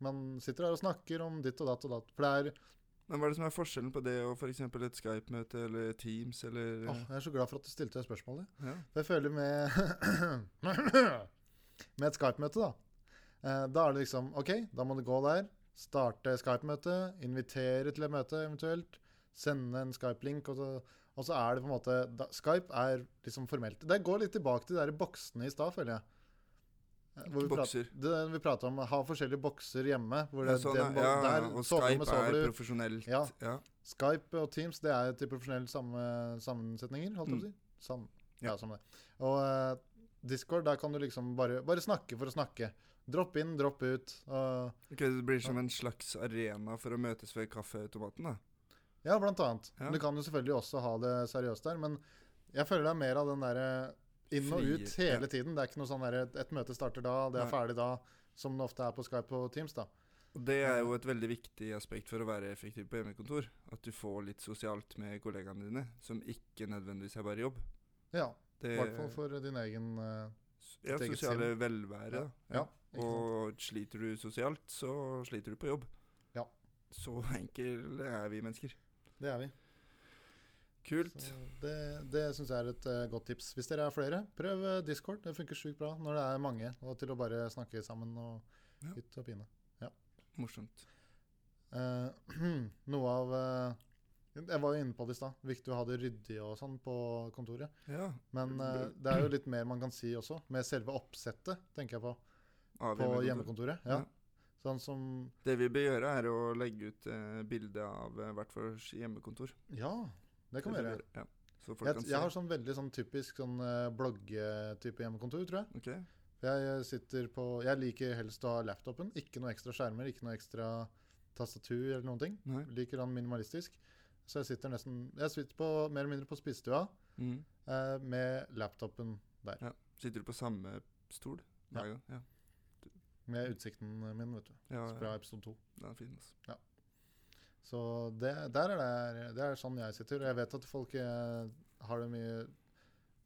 S1: Man sitter der og snakker om ditt og datt og datt. For det er,
S2: Men hva er det som er forskjellen på det og f.eks. et Skype-møte eller Teams eller eh,
S1: åh, jeg er så glad for at du stilte det spørsmålet.
S2: ja.
S1: For jeg føler med (coughs) Med et Skype-møte, da. Eh, da er det liksom OK, da må du gå der, starte Skype-møte, invitere til et møte eventuelt, sende en Skype-link, og så og så er det på en måte da, Skype er liksom formelt. Det går litt tilbake til de der boksene i stad, føler jeg. Eh, Hvor vi
S2: Bokser.
S1: Prat, det vi prata om ha forskjellige bokser hjemme. Hvor det,
S2: Ja,
S1: er
S2: sånn,
S1: den, bo-
S2: ja, ja,
S1: der
S2: og
S1: soverommet
S2: Skype er
S1: sover du.
S2: profesjonelt.
S1: Ja.
S2: ja.
S1: Skype og Teams det er til profesjonelle samme, sammensetninger, holdt jeg på å si. Sam, ja,
S2: Mm. Ja.
S1: samme det. Og eh, Discord, der kan du liksom bare, bare snakke for å snakke. Dropp inn, dropp ut. og-
S2: Ok, Det blir som en slags arena for å møtes ved kaffeautomaten, da.
S1: ja, blant annet.
S2: Ja.
S1: Du kan jo selvfølgelig også ha det seriøst der, men jeg føler det er mer av den derre inn og
S2: Frie,
S1: ut hele
S2: ja.
S1: tiden. Det er ikke noe sånn derre et møte starter da, det er
S2: Nei.
S1: ferdig da, som det ofte er på Skype og Teams, da.
S2: Og det er jo et veldig viktig aspekt for å være effektiv på hjemmekontor. At du får litt sosialt med kollegaene dine, som ikke nødvendigvis er bare jobb.
S1: Ja,
S2: Det
S1: i hvert fall for din egen eh,
S2: ja,
S1: ditt eget
S2: sosiale velvære, da.
S1: Ja. ikke sant?
S2: Og sliter du sosialt, så sliter du på jobb.
S1: Ja.
S2: Så enkle er vi mennesker.
S1: Det er vi.
S2: Kult.
S1: Så Det, det syns jeg er et eh, godt tips. Hvis dere er flere, prøv eh, Discord. Det funker sjukt bra når det er mange, og til å bare snakke sammen og
S2: Ja.
S1: hytt og pine.
S2: Morsomt.
S1: Eh, (clears throat) noe av eh, Jeg var jo inne på det i stad. Viktig å ha det ryddig og sånn på kontoret.
S2: Ja.
S1: Men eh, det er jo litt mer man kan si også, med selve oppsettet, tenker jeg på,
S2: Av
S1: på
S2: hjemmekontor.
S1: hjemmekontoret. Ja.
S2: Ja.
S1: Sånn som
S2: Det vi bør gjøre, er å legge ut eh, bilde av eh, hvert vårt hjemmekontor.
S1: Ja, det kan vi gjøre.
S2: Ja. Så folk
S1: Jeg,
S2: kan se.
S1: jeg har sånn veldig sånn typisk sånn eh, bloggetype hjemmekontor, tror jeg.
S2: Ok.
S1: Jeg eh, sitter på Jeg liker helst å ha laptopen. Ikke noe ekstra skjermer, ikke noe ekstra tastatur eller noen ting.
S2: Nei.
S1: Liker han minimalistisk. Så jeg sitter nesten Jeg sitter på, mer eller mindre på spisestua
S2: Mm.
S1: eh, med laptopen der.
S2: Sitter du på samme stol hver gang? Ja.
S1: Med utsikten min, vet du.
S2: ja, ja.
S1: Fra episode to.
S2: Den er fin, altså.
S1: Så det, der er det, det er sånn jeg sitter. Jeg vet at folk eh, har det mye,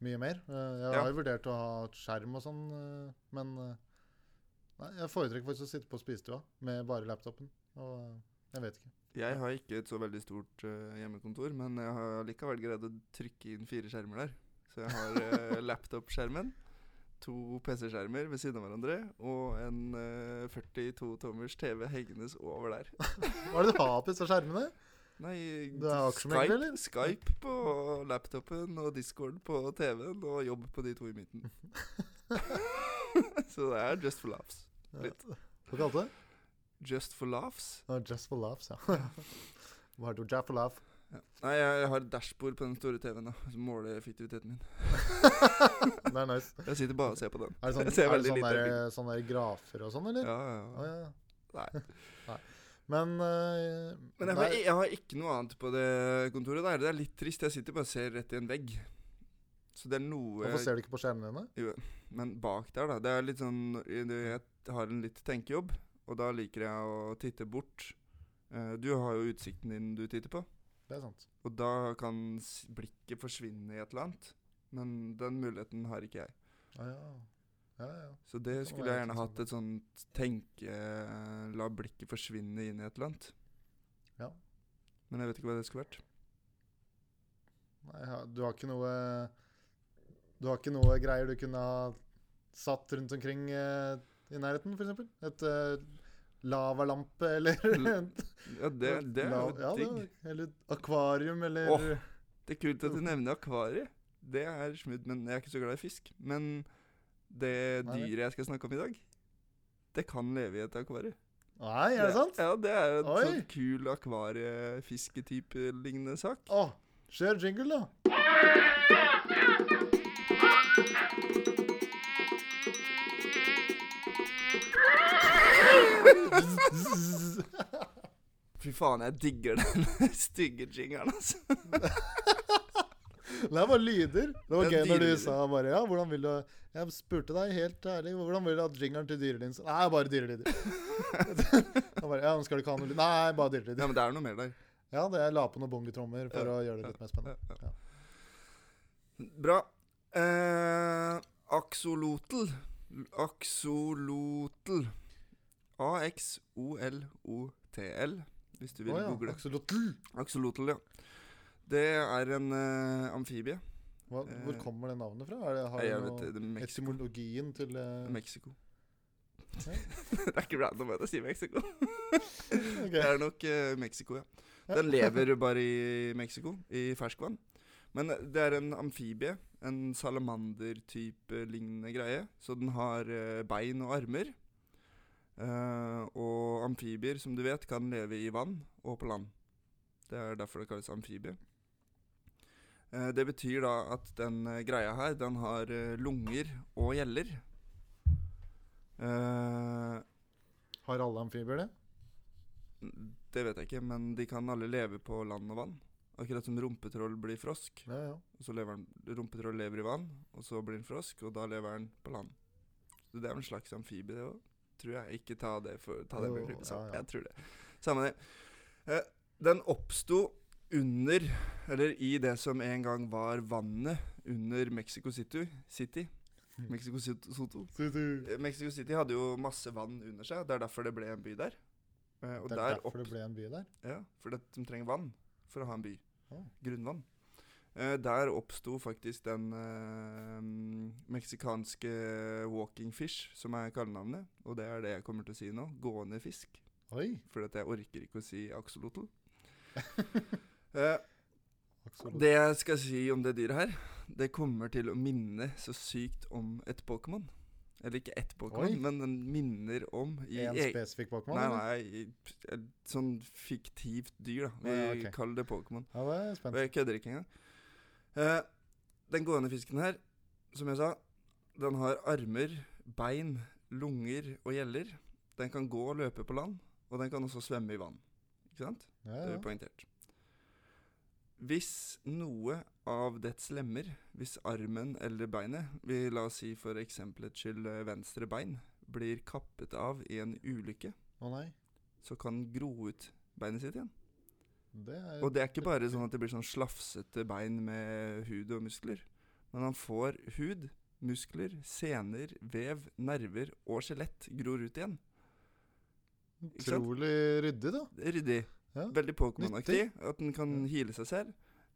S1: mye mer. Eh, Jeg
S2: Ja.
S1: har jo vurdert å ha et skjerm og sånn, eh, men eh, nei, jeg foretrekker faktisk å sitte på spisestua med bare laptopen. Og eh, jeg vet ikke.
S2: Jeg har ikke et så veldig stort eh, hjemmekontor, men jeg har likevel greid å trykke inn fire skjermer der. Så jeg har
S1: (laughs)
S2: eh, laptop-skjermen, to PC-skjermer ved siden av hverandre, og en eh, 42-tommers TV hengende over der.
S1: Hva er det du har på disse skjermene?
S2: Nei,
S1: Du er aksjemegler,
S2: Skype,
S1: eller?
S2: Skype på laptopen og Discord på TV-en, og jobb på de to i
S1: (laughs)
S2: midten. så det er just for laughs. Litt.
S1: Hva kalte du det?
S2: Just for laughs?
S1: Oh, just for laughs, ja. (laughs) Hva har du just for laugh?
S2: Ja. Nei, jeg, jeg har dashbord på den store TV-en, da, som måler effektiviteten min.
S1: Det er nice.
S2: Jeg sitter bare og ser på den.
S1: Er det
S2: (laughs)
S1: sånn,
S2: Jeg ser
S1: er det
S2: veldig
S1: sånn
S2: lite
S1: der,
S2: av
S1: sånn der grafer og sånn, eller? Å,
S2: Ja, ja, ja.
S1: ja. (laughs)
S2: Nei.
S1: Men, eh,
S2: Men jeg
S1: nei,
S2: har, jeg har ikke noe annet på det kontoret der. Det er litt trist. Jeg sitter bare og ser rett i en vegg. Så det er noe
S1: Hvorfor ser du ikke på skjermene dine?
S2: Men bak der, da. Det er litt sånn Jeg har en litt tenkejobb, og da liker jeg å titte bort. Eh, Du har jo utsikten din du titter på,
S1: Det er sant.
S2: og da kan s- blikket forsvinne i et eller annet. Men den muligheten har ikke jeg.
S1: Å, ja. Ja, ja.
S2: Så det
S1: Det
S2: skulle
S1: var
S2: jeg
S1: helt
S2: gjerne hatt et sånt tenke La blikket forsvinne inn i et eller annet.
S1: Ja.
S2: Men jeg vet ikke hva det skulle vært.
S1: Nei, ja, du har ikke noe Du har ikke noe greier du kunne ha satt rundt omkring eh, i nærheten, f.eks.? Et eh, lavalampe eller (laughs)
S2: L-
S1: et
S2: Ja, det, det er
S1: la-
S2: jo
S1: ja, det
S2: digg.
S1: var- Eller et akvarium, eller
S2: Åh. Det er kult
S1: Mm.
S2: at du nevner akvariet. Det er smooth, men jeg er ikke så glad i fisk. Men det
S1: Nei, det-
S2: dyret jeg skal snakke om i dag, det kan leve i et akvarie.
S1: Nei, er det sant?
S2: Ja, det er en
S1: Oi.
S2: sånn kul akvariefiske-type-lignende sak.
S1: Å, kjør jingle, da. Zzz.
S2: Fy faen, jeg digger (laughs) den stygge jingeren,
S1: (laughs)
S2: altså.
S1: Det er bare lyder. Det var
S2: Det
S1: gøy
S2: er
S1: når du
S2: dyrelyder.
S1: sa bare ja, hvordan vil du Jeg spurte deg helt ærlig hvordan vil du at jingeren til dyrelyden skal Nei, bare
S2: (laughs)
S1: dyrelyder. Jeg bare, ja, men skal du ikke ha noe lyd? Nei, bare
S2: Ja,
S1: dyrelyder.
S2: men det er noe mer der.
S1: Ja, det jeg la på noen bongotrommer for
S2: Ja,
S1: å gjøre det litt mer spennende.
S2: Ja,
S1: Ja.
S2: ja. Bra. Eh, axolotl. Axolotl. A-x-o-l-o-t-l, hvis du vil
S1: Å ja,
S2: google.
S1: axolotl.
S2: Axolotl, ja. Det er en eh, amfibie.
S1: Hva, hvor
S2: Eh,
S1: kommer det navnet fra? Er det,
S2: Nei, jeg
S1: har du
S2: vet det, det er
S1: noe
S2: Mexico.
S1: etymologien til eh,
S2: Mexico.
S1: Ja.
S2: (laughs) det er ikke random at jeg sier Mexico.
S1: (laughs) ok.
S2: Det er nok eh, Mexico, ja. Den lever bare i Mexico, i ferskvann. Men eh, det er en amfibie, en salamander-type lignende greie. Så den har eh, bein og armer. Eh, og amfibier, som du vet, kan leve i vann og på land. Det er derfor det kalles amfibie. Eh, det betyr da at den eh, greia her, den har eh, lunger og gjeller. Eh,
S1: (laughs) Har alle amfibier det?
S2: det vet jeg ikke, men de kan alle leve på land og vann. Akkurat som rumpetroll blir frosk.
S1: Ja, ja.
S2: Og så lever den, rumpetroll lever i vann, og så blir den frosk, og da lever den på land. Så det er en slags amfibie, det òg. Tror jeg. Ikke ta det, for, ta det med
S1: Jo,
S2: en klype salt.
S1: ja, ja.
S2: Jeg tror det. Samme det. Eh, den oppsto under, eller i det som en gang var vannet under Mexico City. City.
S1: Mm.
S2: Mexico City. Soto.
S1: Så du-
S2: Eh, Mexico City hadde jo masse vann under seg. Det er derfor det ble en by der. Eh, og
S1: Det er
S2: der
S1: derfor det ble en by der?
S2: ja, for det, de trenger vann for å ha en by.
S1: Ah.
S2: Grunnvann. Eh, der oppsto faktisk den eh, mm, meksikanske walking fish, som er kallenavnet. Og det er det jeg kommer til å si nå. Gående fisk.
S1: Oi!
S2: For at jeg orker ikke å si
S1: (laughs)
S2: axolotl. eh,
S1: Axolotl.
S2: det jeg skal si om det dyret her, det kommer til å minne så sykt om et Pokémon. Eller ikke ett
S1: Oi.
S2: Pokémon, men den minner om i
S1: En
S2: e-
S1: spesifikk Pokémon?
S2: Nei,
S1: eller?
S2: nei, i- et sånn fiktivt dyr, da. Vi
S1: Å, ja, ok.
S2: kaller det Pokémon.
S1: Ja, det er jeg
S2: Og
S1: spent.
S2: jeg kødder ikke engang. Eh, den gående fisken her, som jeg sa, den har armer, bein, lunger og gjeller. Den kan gå og løpe på land, og den kan også svømme i vann. Ikke sant?
S1: Ja,
S2: Det er
S1: ja.
S2: jo poengtert. Hvis noe av dets lemmer, hvis armen eller beinet, vi la oss si for eksemplets skyld eh, venstre bein, blir kappet av i en ulykke,
S1: Å nei.
S2: så kan den gro ut beinet sitt igjen.
S1: Det er
S2: Og det er ikke bare sånn at det blir sånn slafsete bein med hud og muskler. Men han får hud, muskler, sener, vev, nerver og skjelett gror ut igjen. ikke sant?
S1: utrolig ryddig, da. (laughs)
S2: Det er Ryddig.
S1: Ja.
S2: Veldig Pokémon-aktig. At den kan hile seg selv.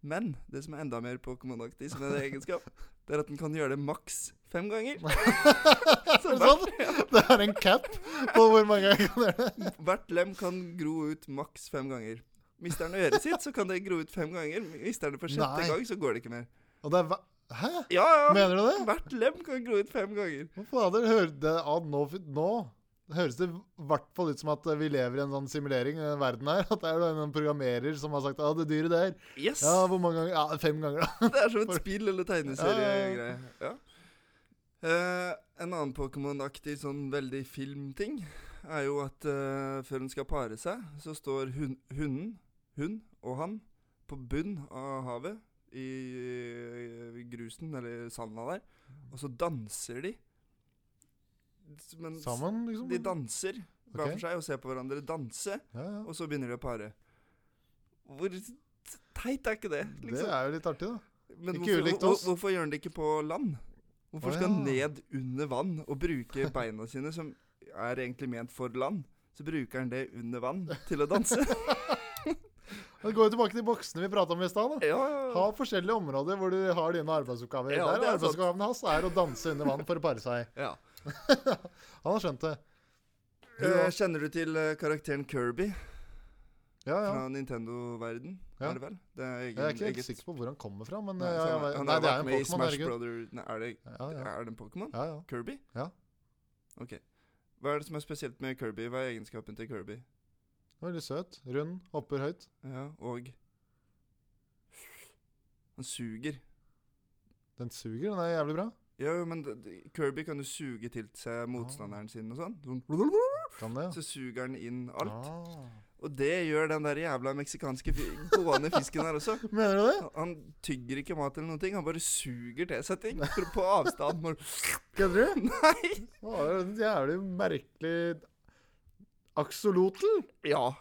S2: Men det som er enda mer Pokémon-aktig som en
S1: (laughs)
S2: egenskap, det er at den kan gjøre det maks fem ganger.
S1: Er det sant? Det er en cap på hvor mange jeg kan gjøre det.
S2: Hvert lem kan gro ut maks fem ganger. Mister den øret sitt, så kan det gro ut fem ganger. Mister den for sjette
S1: Nei.
S2: gang, så går det ikke mer.
S1: Og det er hva- Hæ?
S2: Ja, ja!
S1: Mener du det?
S2: Hvert lem kan gro ut fem ganger.
S1: Hva fader? Hører det av nå, nå høres det i hvert fall ut som at vi lever i en sånn simulering i den verden her. (laughs) At det er en programmerer som har sagt 'Å, det dyret der'.
S2: Yes!
S1: Ja, hvor mange ganger? Ja, fem
S2: (laughs)
S1: ganger, da.
S2: Det er som et
S1: For-
S2: spill eller tegneseriegreie. Ja. Eh, en annen Pokémon-aktig sånn veldig filmting er jo at eh, før hun skal pare seg, så står hun, hunden, hun og han, på bunn av havet i, eh, grusen eller sanda der, og så danser de. S- Men s-
S1: Sammen, liksom?
S2: de danser
S1: Ok.
S2: hver for seg og ser på hverandre danse,
S1: Ja, ja.
S2: og så begynner de å pare. Hvor teit er ikke det? liksom?
S1: Det er jo litt artig, da.
S2: Men
S1: Ikke
S2: hvorfor,
S1: ulikt
S2: hvor-
S1: oss.
S2: hvorfor gjør han det ikke på land? Hvorfor
S1: Å,
S2: skal han
S1: ja.
S2: ned under vann og bruke beina sine, som er egentlig ment for land? Så bruker han det under vann til å danse.
S1: (laughs) Det går jo tilbake til boksene vi prata om i stad. da.
S2: ja,
S1: Ha forskjellige områder hvor du har dine arbeidsoppgaver.
S2: Ja, det
S1: Der
S2: er
S1: er arbeidsoppgaven hans er å danse under vann for å pare seg. (laughs)
S2: ja.
S1: Han har skjønt det. Du
S2: Eh,
S1: da?
S2: kjenner du til eh, karakteren Kirby
S1: Ja, ja.
S2: fra Nintendo-verden?
S1: Ja.
S2: Er det vel? Det er egen,
S1: Jeg er ikke helt
S2: eget-
S1: sikker på hvor han kommer fra, men
S2: Nei,
S1: ja,
S2: så
S1: ja,
S2: han, er-
S1: ja.
S2: han
S1: Nei,
S2: har
S1: det er
S2: vært
S1: en
S2: med i
S1: Pokémon,
S2: Smash
S1: herregud.
S2: Brother Nei, er, det,
S1: Ja, ja.
S2: er det en Pokémon?
S1: ja, ja.
S2: Kirby?
S1: Ja.
S2: Ok. Hva er det som er spesielt med Kirby? Hva er egenskapen til Kirby?
S1: Veldig søt. Rund. Hopper høyt.
S2: Ja, og Han suger.
S1: Den suger, den er jævlig bra.
S2: Ja, jo, men d- d- Kirby kan jo suge til seg motstanderen sin og sånn. Sånn,
S1: Kan det, Ah. ja.
S2: Så suger han inn alt.
S1: Ah.
S2: Og det gjør den der jævla meksikanske fi- gående fisken her
S1: (laughs)
S2: også.
S1: Mener du det?
S2: Han- Han tygger ikke mat eller noen ting, han bare suger til seg ting for- på
S1: (laughs)
S2: avstand. Bare,
S1: Kødder du?
S2: (laughs) nei!
S1: Å, det er en jævlig merkelig Axolotl!
S2: Ja.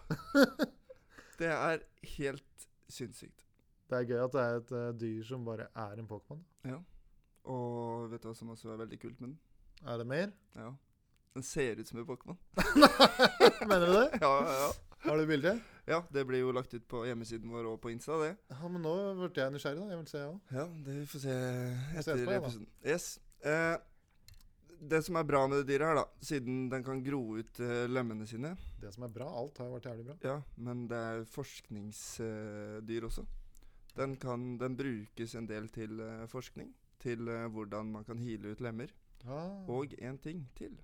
S2: Det er helt sinnssykt.
S1: Det er gøy at det er et eh, dyr som bare er en Pokémon.
S2: Og vet du hva som også er veldig kult med den?
S1: Er det mer?
S2: Ja. Den ser ut som en Pokémon. (laughs)
S1: Mener du det?
S2: Ja, ja, ja.
S1: Har du bilde?
S2: ja, det blir jo lagt ut på hjemmesiden vår og på Insta, det.
S1: Ja, men nå ble jeg nysgjerrig, da. Jeg vil se, jeg òg.
S2: Ja, det vi får se
S1: ses
S2: etter
S1: på, ja, da.
S2: episoden. Yes. Eh, det som er bra med det dyret her, da, siden den kan gro ut eh, lemmene sine
S1: Det som er bra, alt har jo vært jævlig bra.
S2: Ja, men det er forskningsdyr eh, dyr også. Den, kan, den brukes en del til eh, forskning. Til eh, hvordan man kan hile ut lemmer.
S1: Ah.
S2: Og en ting til.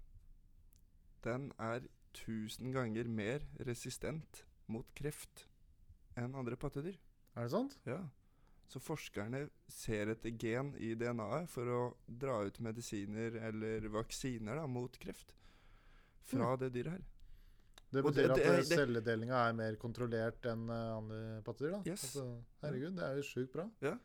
S2: Den er 1000 ganger mer resistent mot kreft enn andre pattedyr.
S1: Er det sant?
S2: Ja. Så forskerne ser etter gen i DNA-et for å dra ut medisiner eller vaksiner da, mot kreft
S1: Mm.
S2: fra det dyret her.
S1: Det
S2: Og det-
S1: betyr
S2: det-
S1: at eh,
S2: det-
S1: celledelinga er mer kontrollert enn eh, andre pattedyr, da?
S2: Yes.
S1: Altså, herregud, det er jo sjukt bra.
S2: Det,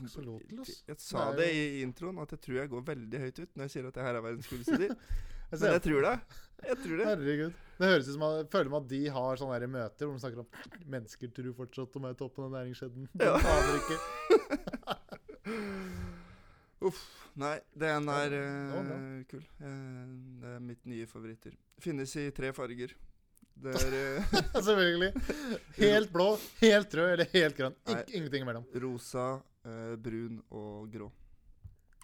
S1: Axolotl, ass.
S2: Jeg sa
S1: Det
S2: det
S1: er
S2: i introen, at jeg tror jeg går veldig høyt ut når jeg sier at det her er verdens kuleste dyr.
S1: (laughs) Jeg
S2: Men
S1: ser
S2: jeg tror det. Jeg tror det.
S1: Herregud. Det høres ut som at, føler meg at de har sånne her møter hvor de snakker om mennesker tror fortsatt de er toppen av næringskjeden. De
S2: Ja.
S1: aner ikke.
S2: Uff. Nei, den
S1: Ja,
S2: er
S1: det var bra.
S2: eh, kul. Eh, det er mitt nye favorittdyr. Finnes i tre farger.
S1: (laughs)
S2: Det er eh,
S1: Selvfølgelig. Helt blå, helt rød eller helt grønn.
S2: Nei.
S1: Ikke, ingenting imellom.
S2: rosa, eh, brun og grå.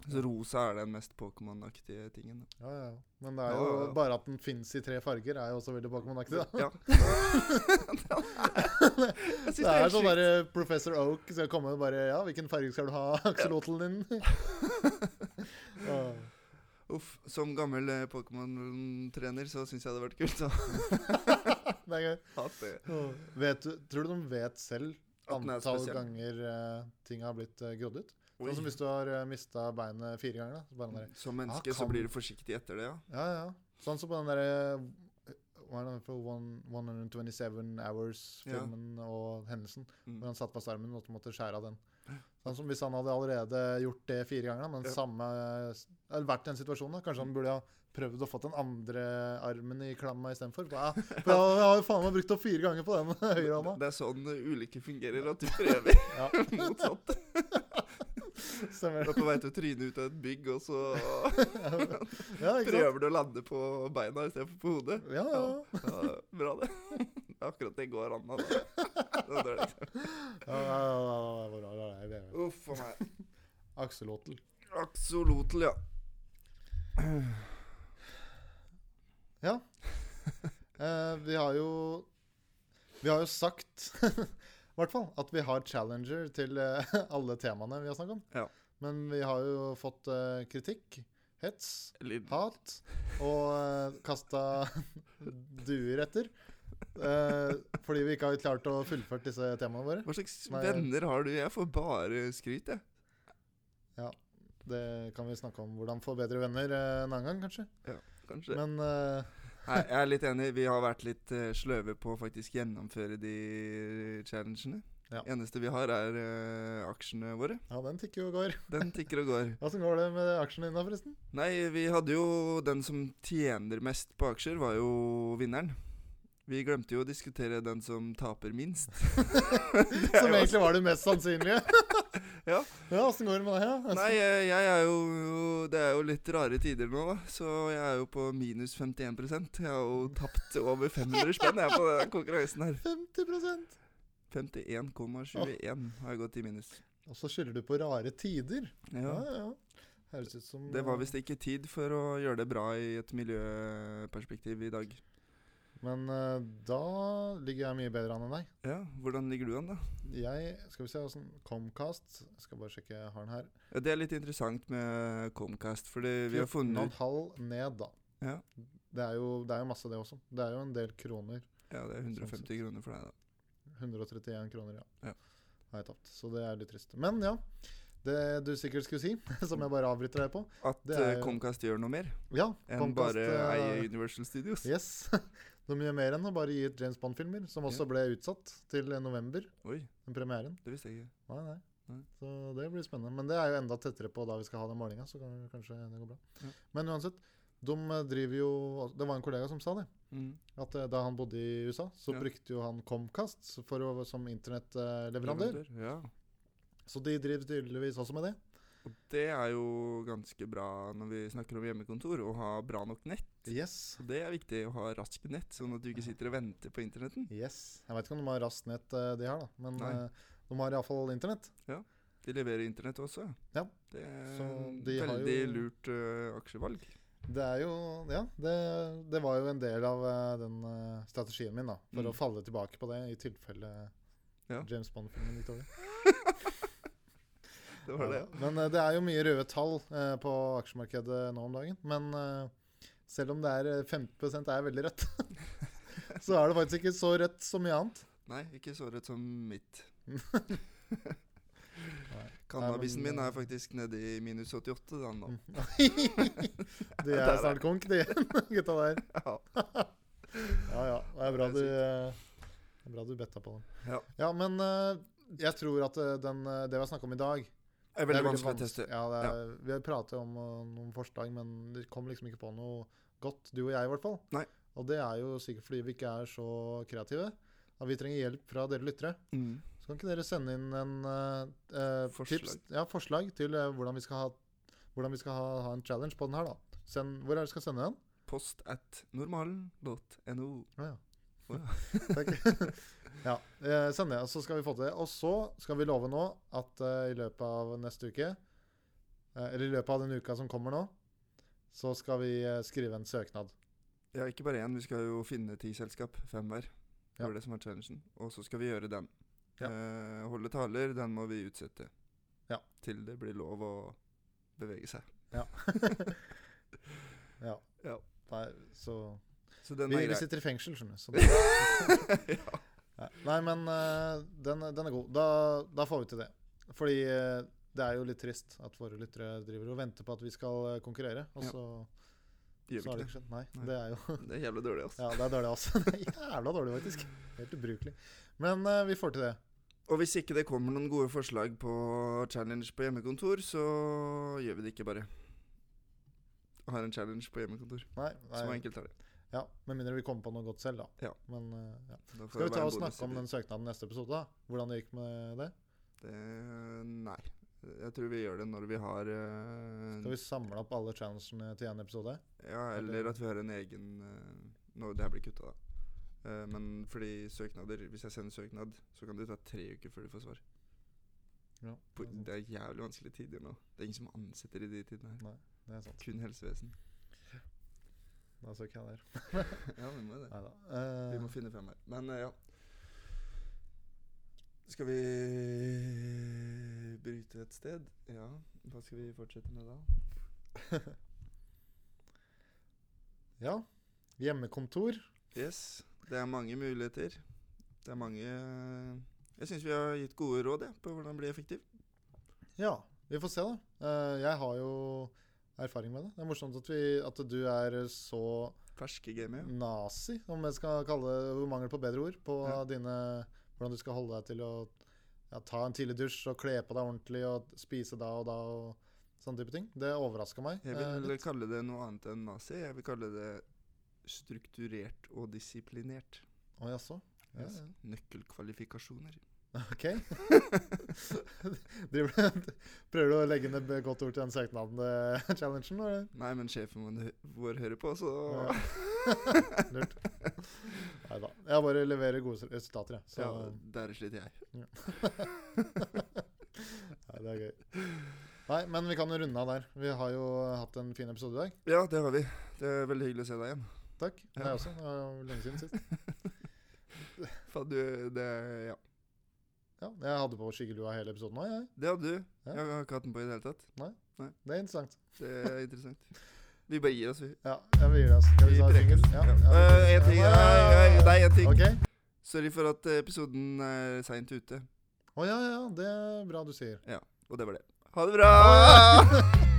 S2: Så rosa er den mest Pokémon-aktige tingen. da.
S1: Ja, ja. Men det er
S2: Ja,
S1: jo
S2: ja, ja.
S1: bare at den fins i tre farger, er jo også veldig Pokémon-aktig. da.
S2: Ja. Jeg
S1: Det er sånn der eh, Professor Oak skal komme og (laughs) bare Ja, hvilken farge skal du ha, akselotelen din? Åh.
S2: Uff, som gammel eh, Pokémon-trener så syns jeg det hadde vært (laughs) kult. Så.
S1: Det er gøy.
S2: At det-
S1: Vet, du- tror du de vet selv
S2: At den er
S1: antall
S2: spesiell.
S1: ganger eh, ting har blitt eh, grodd ut?
S2: Oi.
S1: Sånn som hvis du har uh, mista beinet fire ganger. da, så bare den der,
S2: Som menneske
S1: Ah,
S2: så
S1: kan-
S2: blir du forsiktig etter det, ja.
S1: Ja, ja. Sånn som på den derre Hva er det for one- 127 Hours-filmen og hendelsen. Hvor
S2: Mm.
S1: han satt fast armen og måtte skjære av den. Sånn som Hvis han hadde allerede gjort det fire ganger, da, men
S2: Ja.
S1: samme, eller vært i den situasjonen, da, kanskje han burde ha prøvd å fått den andre armen i klamma istedenfor. Ja, for jeg har jo faen meg brukt opp fire ganger på den høyrehånda.
S2: Det er sånn eh, ulykker
S1: (laughs)
S2: fungerer, at du prøver
S1: Ja,
S2: motsatt. Du
S1: stemmer
S2: er
S1: det.
S2: på vei til å tryne ut av et bygg, og så
S1: (laughs) Ja, ikke sant?
S2: prøver du å lande på beina istedenfor på
S1: (laughs)
S2: hodet.
S1: Ja, ja, ja.
S2: Ja, bra, det. Det er Akkurat det går an. da. Det er dårlig.
S1: Ja, ja, ja, ja, ja, ja, ja, ja, ja.
S2: Uff a meg.
S1: Axolotl.
S2: Axolotl, ja.
S1: Eh, vi har jo Vi har jo sagt (laughs) i hvert fall at vi har challenger til eh, (laughs) alle temaene vi har snakket om.
S2: Ja.
S1: Men vi har jo fått eh, kritikk, hets,
S2: Litt
S1: hat og uh, kasta (laughs) duer etter. Eh, fordi vi ikke har klart å fullføre disse temaene våre.
S2: Hva slags
S1: Nei, jeg-
S2: venner har du? Jeg får bare skryt, jeg.
S1: Det kan vi snakke om hvordan få bedre venner eh, en annen gang, kanskje.
S2: Kanskje.
S1: Men eh,
S2: Nei, jeg er litt enig. Vi har vært litt eh, sløve på å faktisk gjennomføre de eh, challengene.
S1: Ja.
S2: Eneste vi har, er eh, aksjene våre.
S1: ja, den tikker jo og går.
S2: Den tikker og går.
S1: Åssen går det med aksjene dine, forresten?
S2: Nei, vi hadde jo Den som tjener mest på aksjer, var jo vinneren. Vi glemte jo å diskutere den som taper minst.
S1: (laughs) Som egentlig var det mest sannsynlige.
S2: Ja.
S1: (laughs) Ja, Åssen går det med deg? Ja?
S2: Nei, jeg, jeg er jo Det er jo litt rare tider nå, da. Så jeg er jo på minus 51 Jeg har
S1: (laughs)
S2: jo tapt over 500 spenn jeg på den konkurransen her.
S1: 50
S2: 51,21 har jeg gått i minus.
S1: Og så skylder du på rare tider. Ja,
S2: Ja.
S1: ja. Høres ut som
S2: Det var visst ikke tid for å gjøre det bra i et miljøperspektiv i dag.
S1: Men eh, da ligger jeg mye bedre an enn deg.
S2: Ja, Hvordan ligger du an, da?
S1: Jeg Skal vi se åssen Comcast jeg Skal bare sjekke, jeg har den her.
S2: Ja, det er litt interessant med Comcast, fordi vi har funnet ut
S1: 14,5 ned, da.
S2: Ja.
S1: Det, er jo, det er jo masse, det også. Det er jo en del kroner.
S2: Ja, det er 150
S1: Sånn.
S2: kroner for deg, da.
S1: 131 kroner, ja.
S2: Ja.
S1: Har jeg tapt. Så det er litt trist. Men ja. Det du sikkert skulle si, (laughs) som jeg bare avbryter deg på
S2: At
S1: Det er
S2: eh,
S1: jo-
S2: Comcast gjør noe mer
S1: Ja,
S2: enn
S1: Comcast,
S2: bare
S1: eh,
S2: eier Universal Studios.
S1: Yes. (laughs) De gjør mer enn å bare gi ut James Bond-filmer, som også ble utsatt til november.
S2: Oi,
S1: Den premieren.
S2: det visste jeg ikke.
S1: Nei, nei.
S2: Nei.
S1: Så det blir spennende. Men det er jo enda tettere på da vi skal ha den målinga, så kan, kanskje det går bra.
S2: Ja.
S1: Men uansett, de eh, driver jo Det var en kollega som sa det.
S2: Mm.
S1: At eh, da han bodde i USA, så
S2: Ja.
S1: brukte jo han Comcast for å, som internettleverandør.
S2: Ja.
S1: Så de driver tydeligvis også med det.
S2: Og det er jo ganske bra når vi snakker om hjemmekontor, å ha bra nok nett.
S1: Yes.
S2: Så det er viktig å ha raskt nett, sånn at du ikke sitter og venter på internetten.
S1: yes. Jeg vet ikke om de har raskt nett, eh, de her, da. Men
S2: Nei.
S1: eh, de har iallfall internett.
S2: De leverer internett også.
S1: Ja.
S2: Det er
S1: Så de har
S2: veldig
S1: jo-
S2: lurt øh, aksjevalg.
S1: Det er jo Ja, det, det var jo en del av eh, den eh, strategien min, da. For
S2: Mm.
S1: å falle tilbake på det i tilfelle
S2: Ja.
S1: James Bond-filmen gikk dårlig.
S2: Det var det.
S1: Ja. Men eh, det er jo mye røde tall eh, på aksjemarkedet nå om dagen. Men eh, selv om det er eh, 15 er veldig rødt, (laughs) så er det faktisk ikke så rødt som mye annet.
S2: Nei, ikke så rødt som
S1: (laughs)
S2: mitt.
S1: Nei,
S2: Cannabisen
S1: men, Mm.
S2: min er
S1: øh,
S2: faktisk nede i minus 88 da, nå.
S1: (laughs) De
S2: Mm-hmm. (laughs) Der, der.
S1: er snart konk, de (laughs) gutta der.
S2: (laughs) Ja.
S1: Ja ja. Det er bra
S2: Det
S1: du,
S2: er
S1: eh, det er bra du betta på den.
S2: Ja.
S1: men eh, jeg tror at eh, den, eh, det vi har snakka om i dag
S2: Det er
S1: Det
S2: veldig
S1: er
S2: vanskelig å teste.
S1: Ja, det er, Vi har pratet om uh, noen forslag, men det kom liksom ikke på noe godt, du og jeg i hvert fall.
S2: Nei.
S1: Og det er jo sikkert fordi vi ikke er så kreative. At vi trenger hjelp fra dere lyttere.
S2: Mm.
S1: Så kan ikke dere sende inn en uh, uh,
S2: Forslag.
S1: Tips, ja, forslag til uh, hvordan vi skal, ha, hvordan vi skal ha, ha en challenge på den her, da. Send, hvor er det du skal sende den?
S2: Post at normalen.no.
S1: Å ja.
S2: Å
S1: (laughs) Takk. (laughs) ja, eh, send det, og så skal vi få til det. Og så skal vi love nå at eh, i løpet av neste uke, eh, eller i løpet av den uka som kommer nå, så skal vi eh, skrive en søknad.
S2: Ja, ikke bare én. Vi skal jo finne ti selskap. Fem hver. Det
S1: Ja.
S2: var det som var challengen. Og så skal vi gjøre den.
S1: Ja.
S2: Eh, holde taler, den må vi utsette.
S1: Ja.
S2: Til det blir lov å bevege seg.
S1: Ja.
S2: Ja.
S1: Nei, så
S2: Så den
S1: vi,
S2: er
S1: vi
S2: grei.
S1: sitter i fengsel, skjønner du. Så det,
S2: (laughs) ja.
S1: ja. Nei, men eh, den, den er god. Da, da får vi til det. Fordi eh, det er jo litt trist at våre lyttere driver og venter på at vi skal eh, konkurrere, og
S2: Ja.
S1: så,
S2: Gjør
S1: så
S2: vi
S1: har det
S2: ikke det?
S1: ikke skjedd. Nei,
S2: Nei.
S1: det er jo (laughs)
S2: Det er jævlig dårlig, altså.
S1: Ja, det er dårlig, altså. (laughs) Det er Jævla dårlig, faktisk. Helt ubrukelig. Men eh, vi får til det.
S2: Og hvis ikke det kommer noen gode forslag på challenge på hjemmekontor, så gjør vi det ikke bare. Har en challenge på hjemmekontor.
S1: Nei,
S2: Så
S1: nei.
S2: enkelt er det.
S1: Ja, Med mindre vi kommer på noe godt selv, da.
S2: Ja.
S1: Men, eh, ja.
S2: Da
S1: Skal
S2: får det
S1: vi
S2: være
S1: ta
S2: en
S1: og
S2: bonus
S1: snakke om
S2: i
S1: den søknaden neste episode? da? Hvordan det gikk med det?
S2: Det, nei. Jeg tror vi gjør det når vi har eh,
S1: Skal vi samle opp alle challengene til én episode?
S2: Ja, eller at vi har en egen eh, Nå, det her blir kutta, da. Eh, men fordi søknader Hvis jeg sender søknad, så kan det ta tre uker før du får svar.
S1: Ja,
S2: På,
S1: det
S2: det er jævlig vanskelige tider nå. Det er ingen som ansetter i de tidene her.
S1: det er sant.
S2: Kun helsevesen.
S1: Da så ikke jeg der.
S2: ja, vi må det.
S1: Nei da.
S2: Vi må finne frem her. Men eh, ja. Skal vi bryte et sted? Ja. Hva skal vi fortsette med da?
S1: ja. Hjemmekontor.
S2: Yes. Det er mange muligheter. Det er mange eh, Jeg syns vi har gitt gode råd jeg, på hvordan bli effektiv.
S1: Ja, vi får se, da. Eh, jeg har jo erfaring med det. Det er morsomt at, vi, at du er så
S2: Ferske gamet.
S1: Mm.
S2: ja.
S1: nazi, om jeg skal kalle det mangel på bedre ord, på
S2: Ja.
S1: dine Hvordan du skal holde deg til å ja, ta en tidlig dusj og kle på deg ordentlig og spise da og da og sånne type ting. Det overraska meg.
S2: Jeg
S1: eh,
S2: vil
S1: litt.
S2: kalle det noe annet enn nazi. Jeg vil kalle det strukturert og disiplinert.
S1: Å jaså? Ja,
S2: Yes.
S1: ja.
S2: Nøkkelkvalifikasjoner.
S1: OK. (laughs) Driver du- Prøver du å legge ned et godt ord til den søknaden, eh, (laughs) challengen? eller?
S2: Nei, men sjefen vår- vår hører på, så
S1: Ja. Lurt. Nei da. Jeg bare leverer gode s- resultater, jeg. Så
S2: (laughs) ja,
S1: (laughs)
S2: Der sliter jeg.
S1: Nei, det er gøy. Nei, men vi kan jo runde av der. Vi har jo hatt en fin episode i dag.
S2: Ja, det har vi. Det er veldig hyggelig å se deg igjen.
S1: Takk.
S2: Ja.
S1: Meg også. Det var jo lenge siden sist.
S2: Faen, du, det Ja.
S1: Ja, jeg hadde på skyggelua hele episoden òg, jeg.
S2: Det hadde du.
S1: Ja.
S2: Jeg har ikke hatt den på i det hele tatt.
S1: Det er interessant.
S2: Det er (laughs) interessant. Vi bare gir oss, vi.
S1: Ja, jeg vil gi det. altså. Skal vi
S2: Vi
S1: ta en
S2: brekker
S1: jingle?
S2: oss.
S1: Ja,
S2: Ja.
S1: ja,
S2: Øh, en ting. Nei, nei, nei, en ting.
S1: Ok.
S2: Sorry for at eh, episoden er seint ute.
S1: Å ja, ja, ja. Det er bra du sier.
S2: Og det var det. Ha det bra!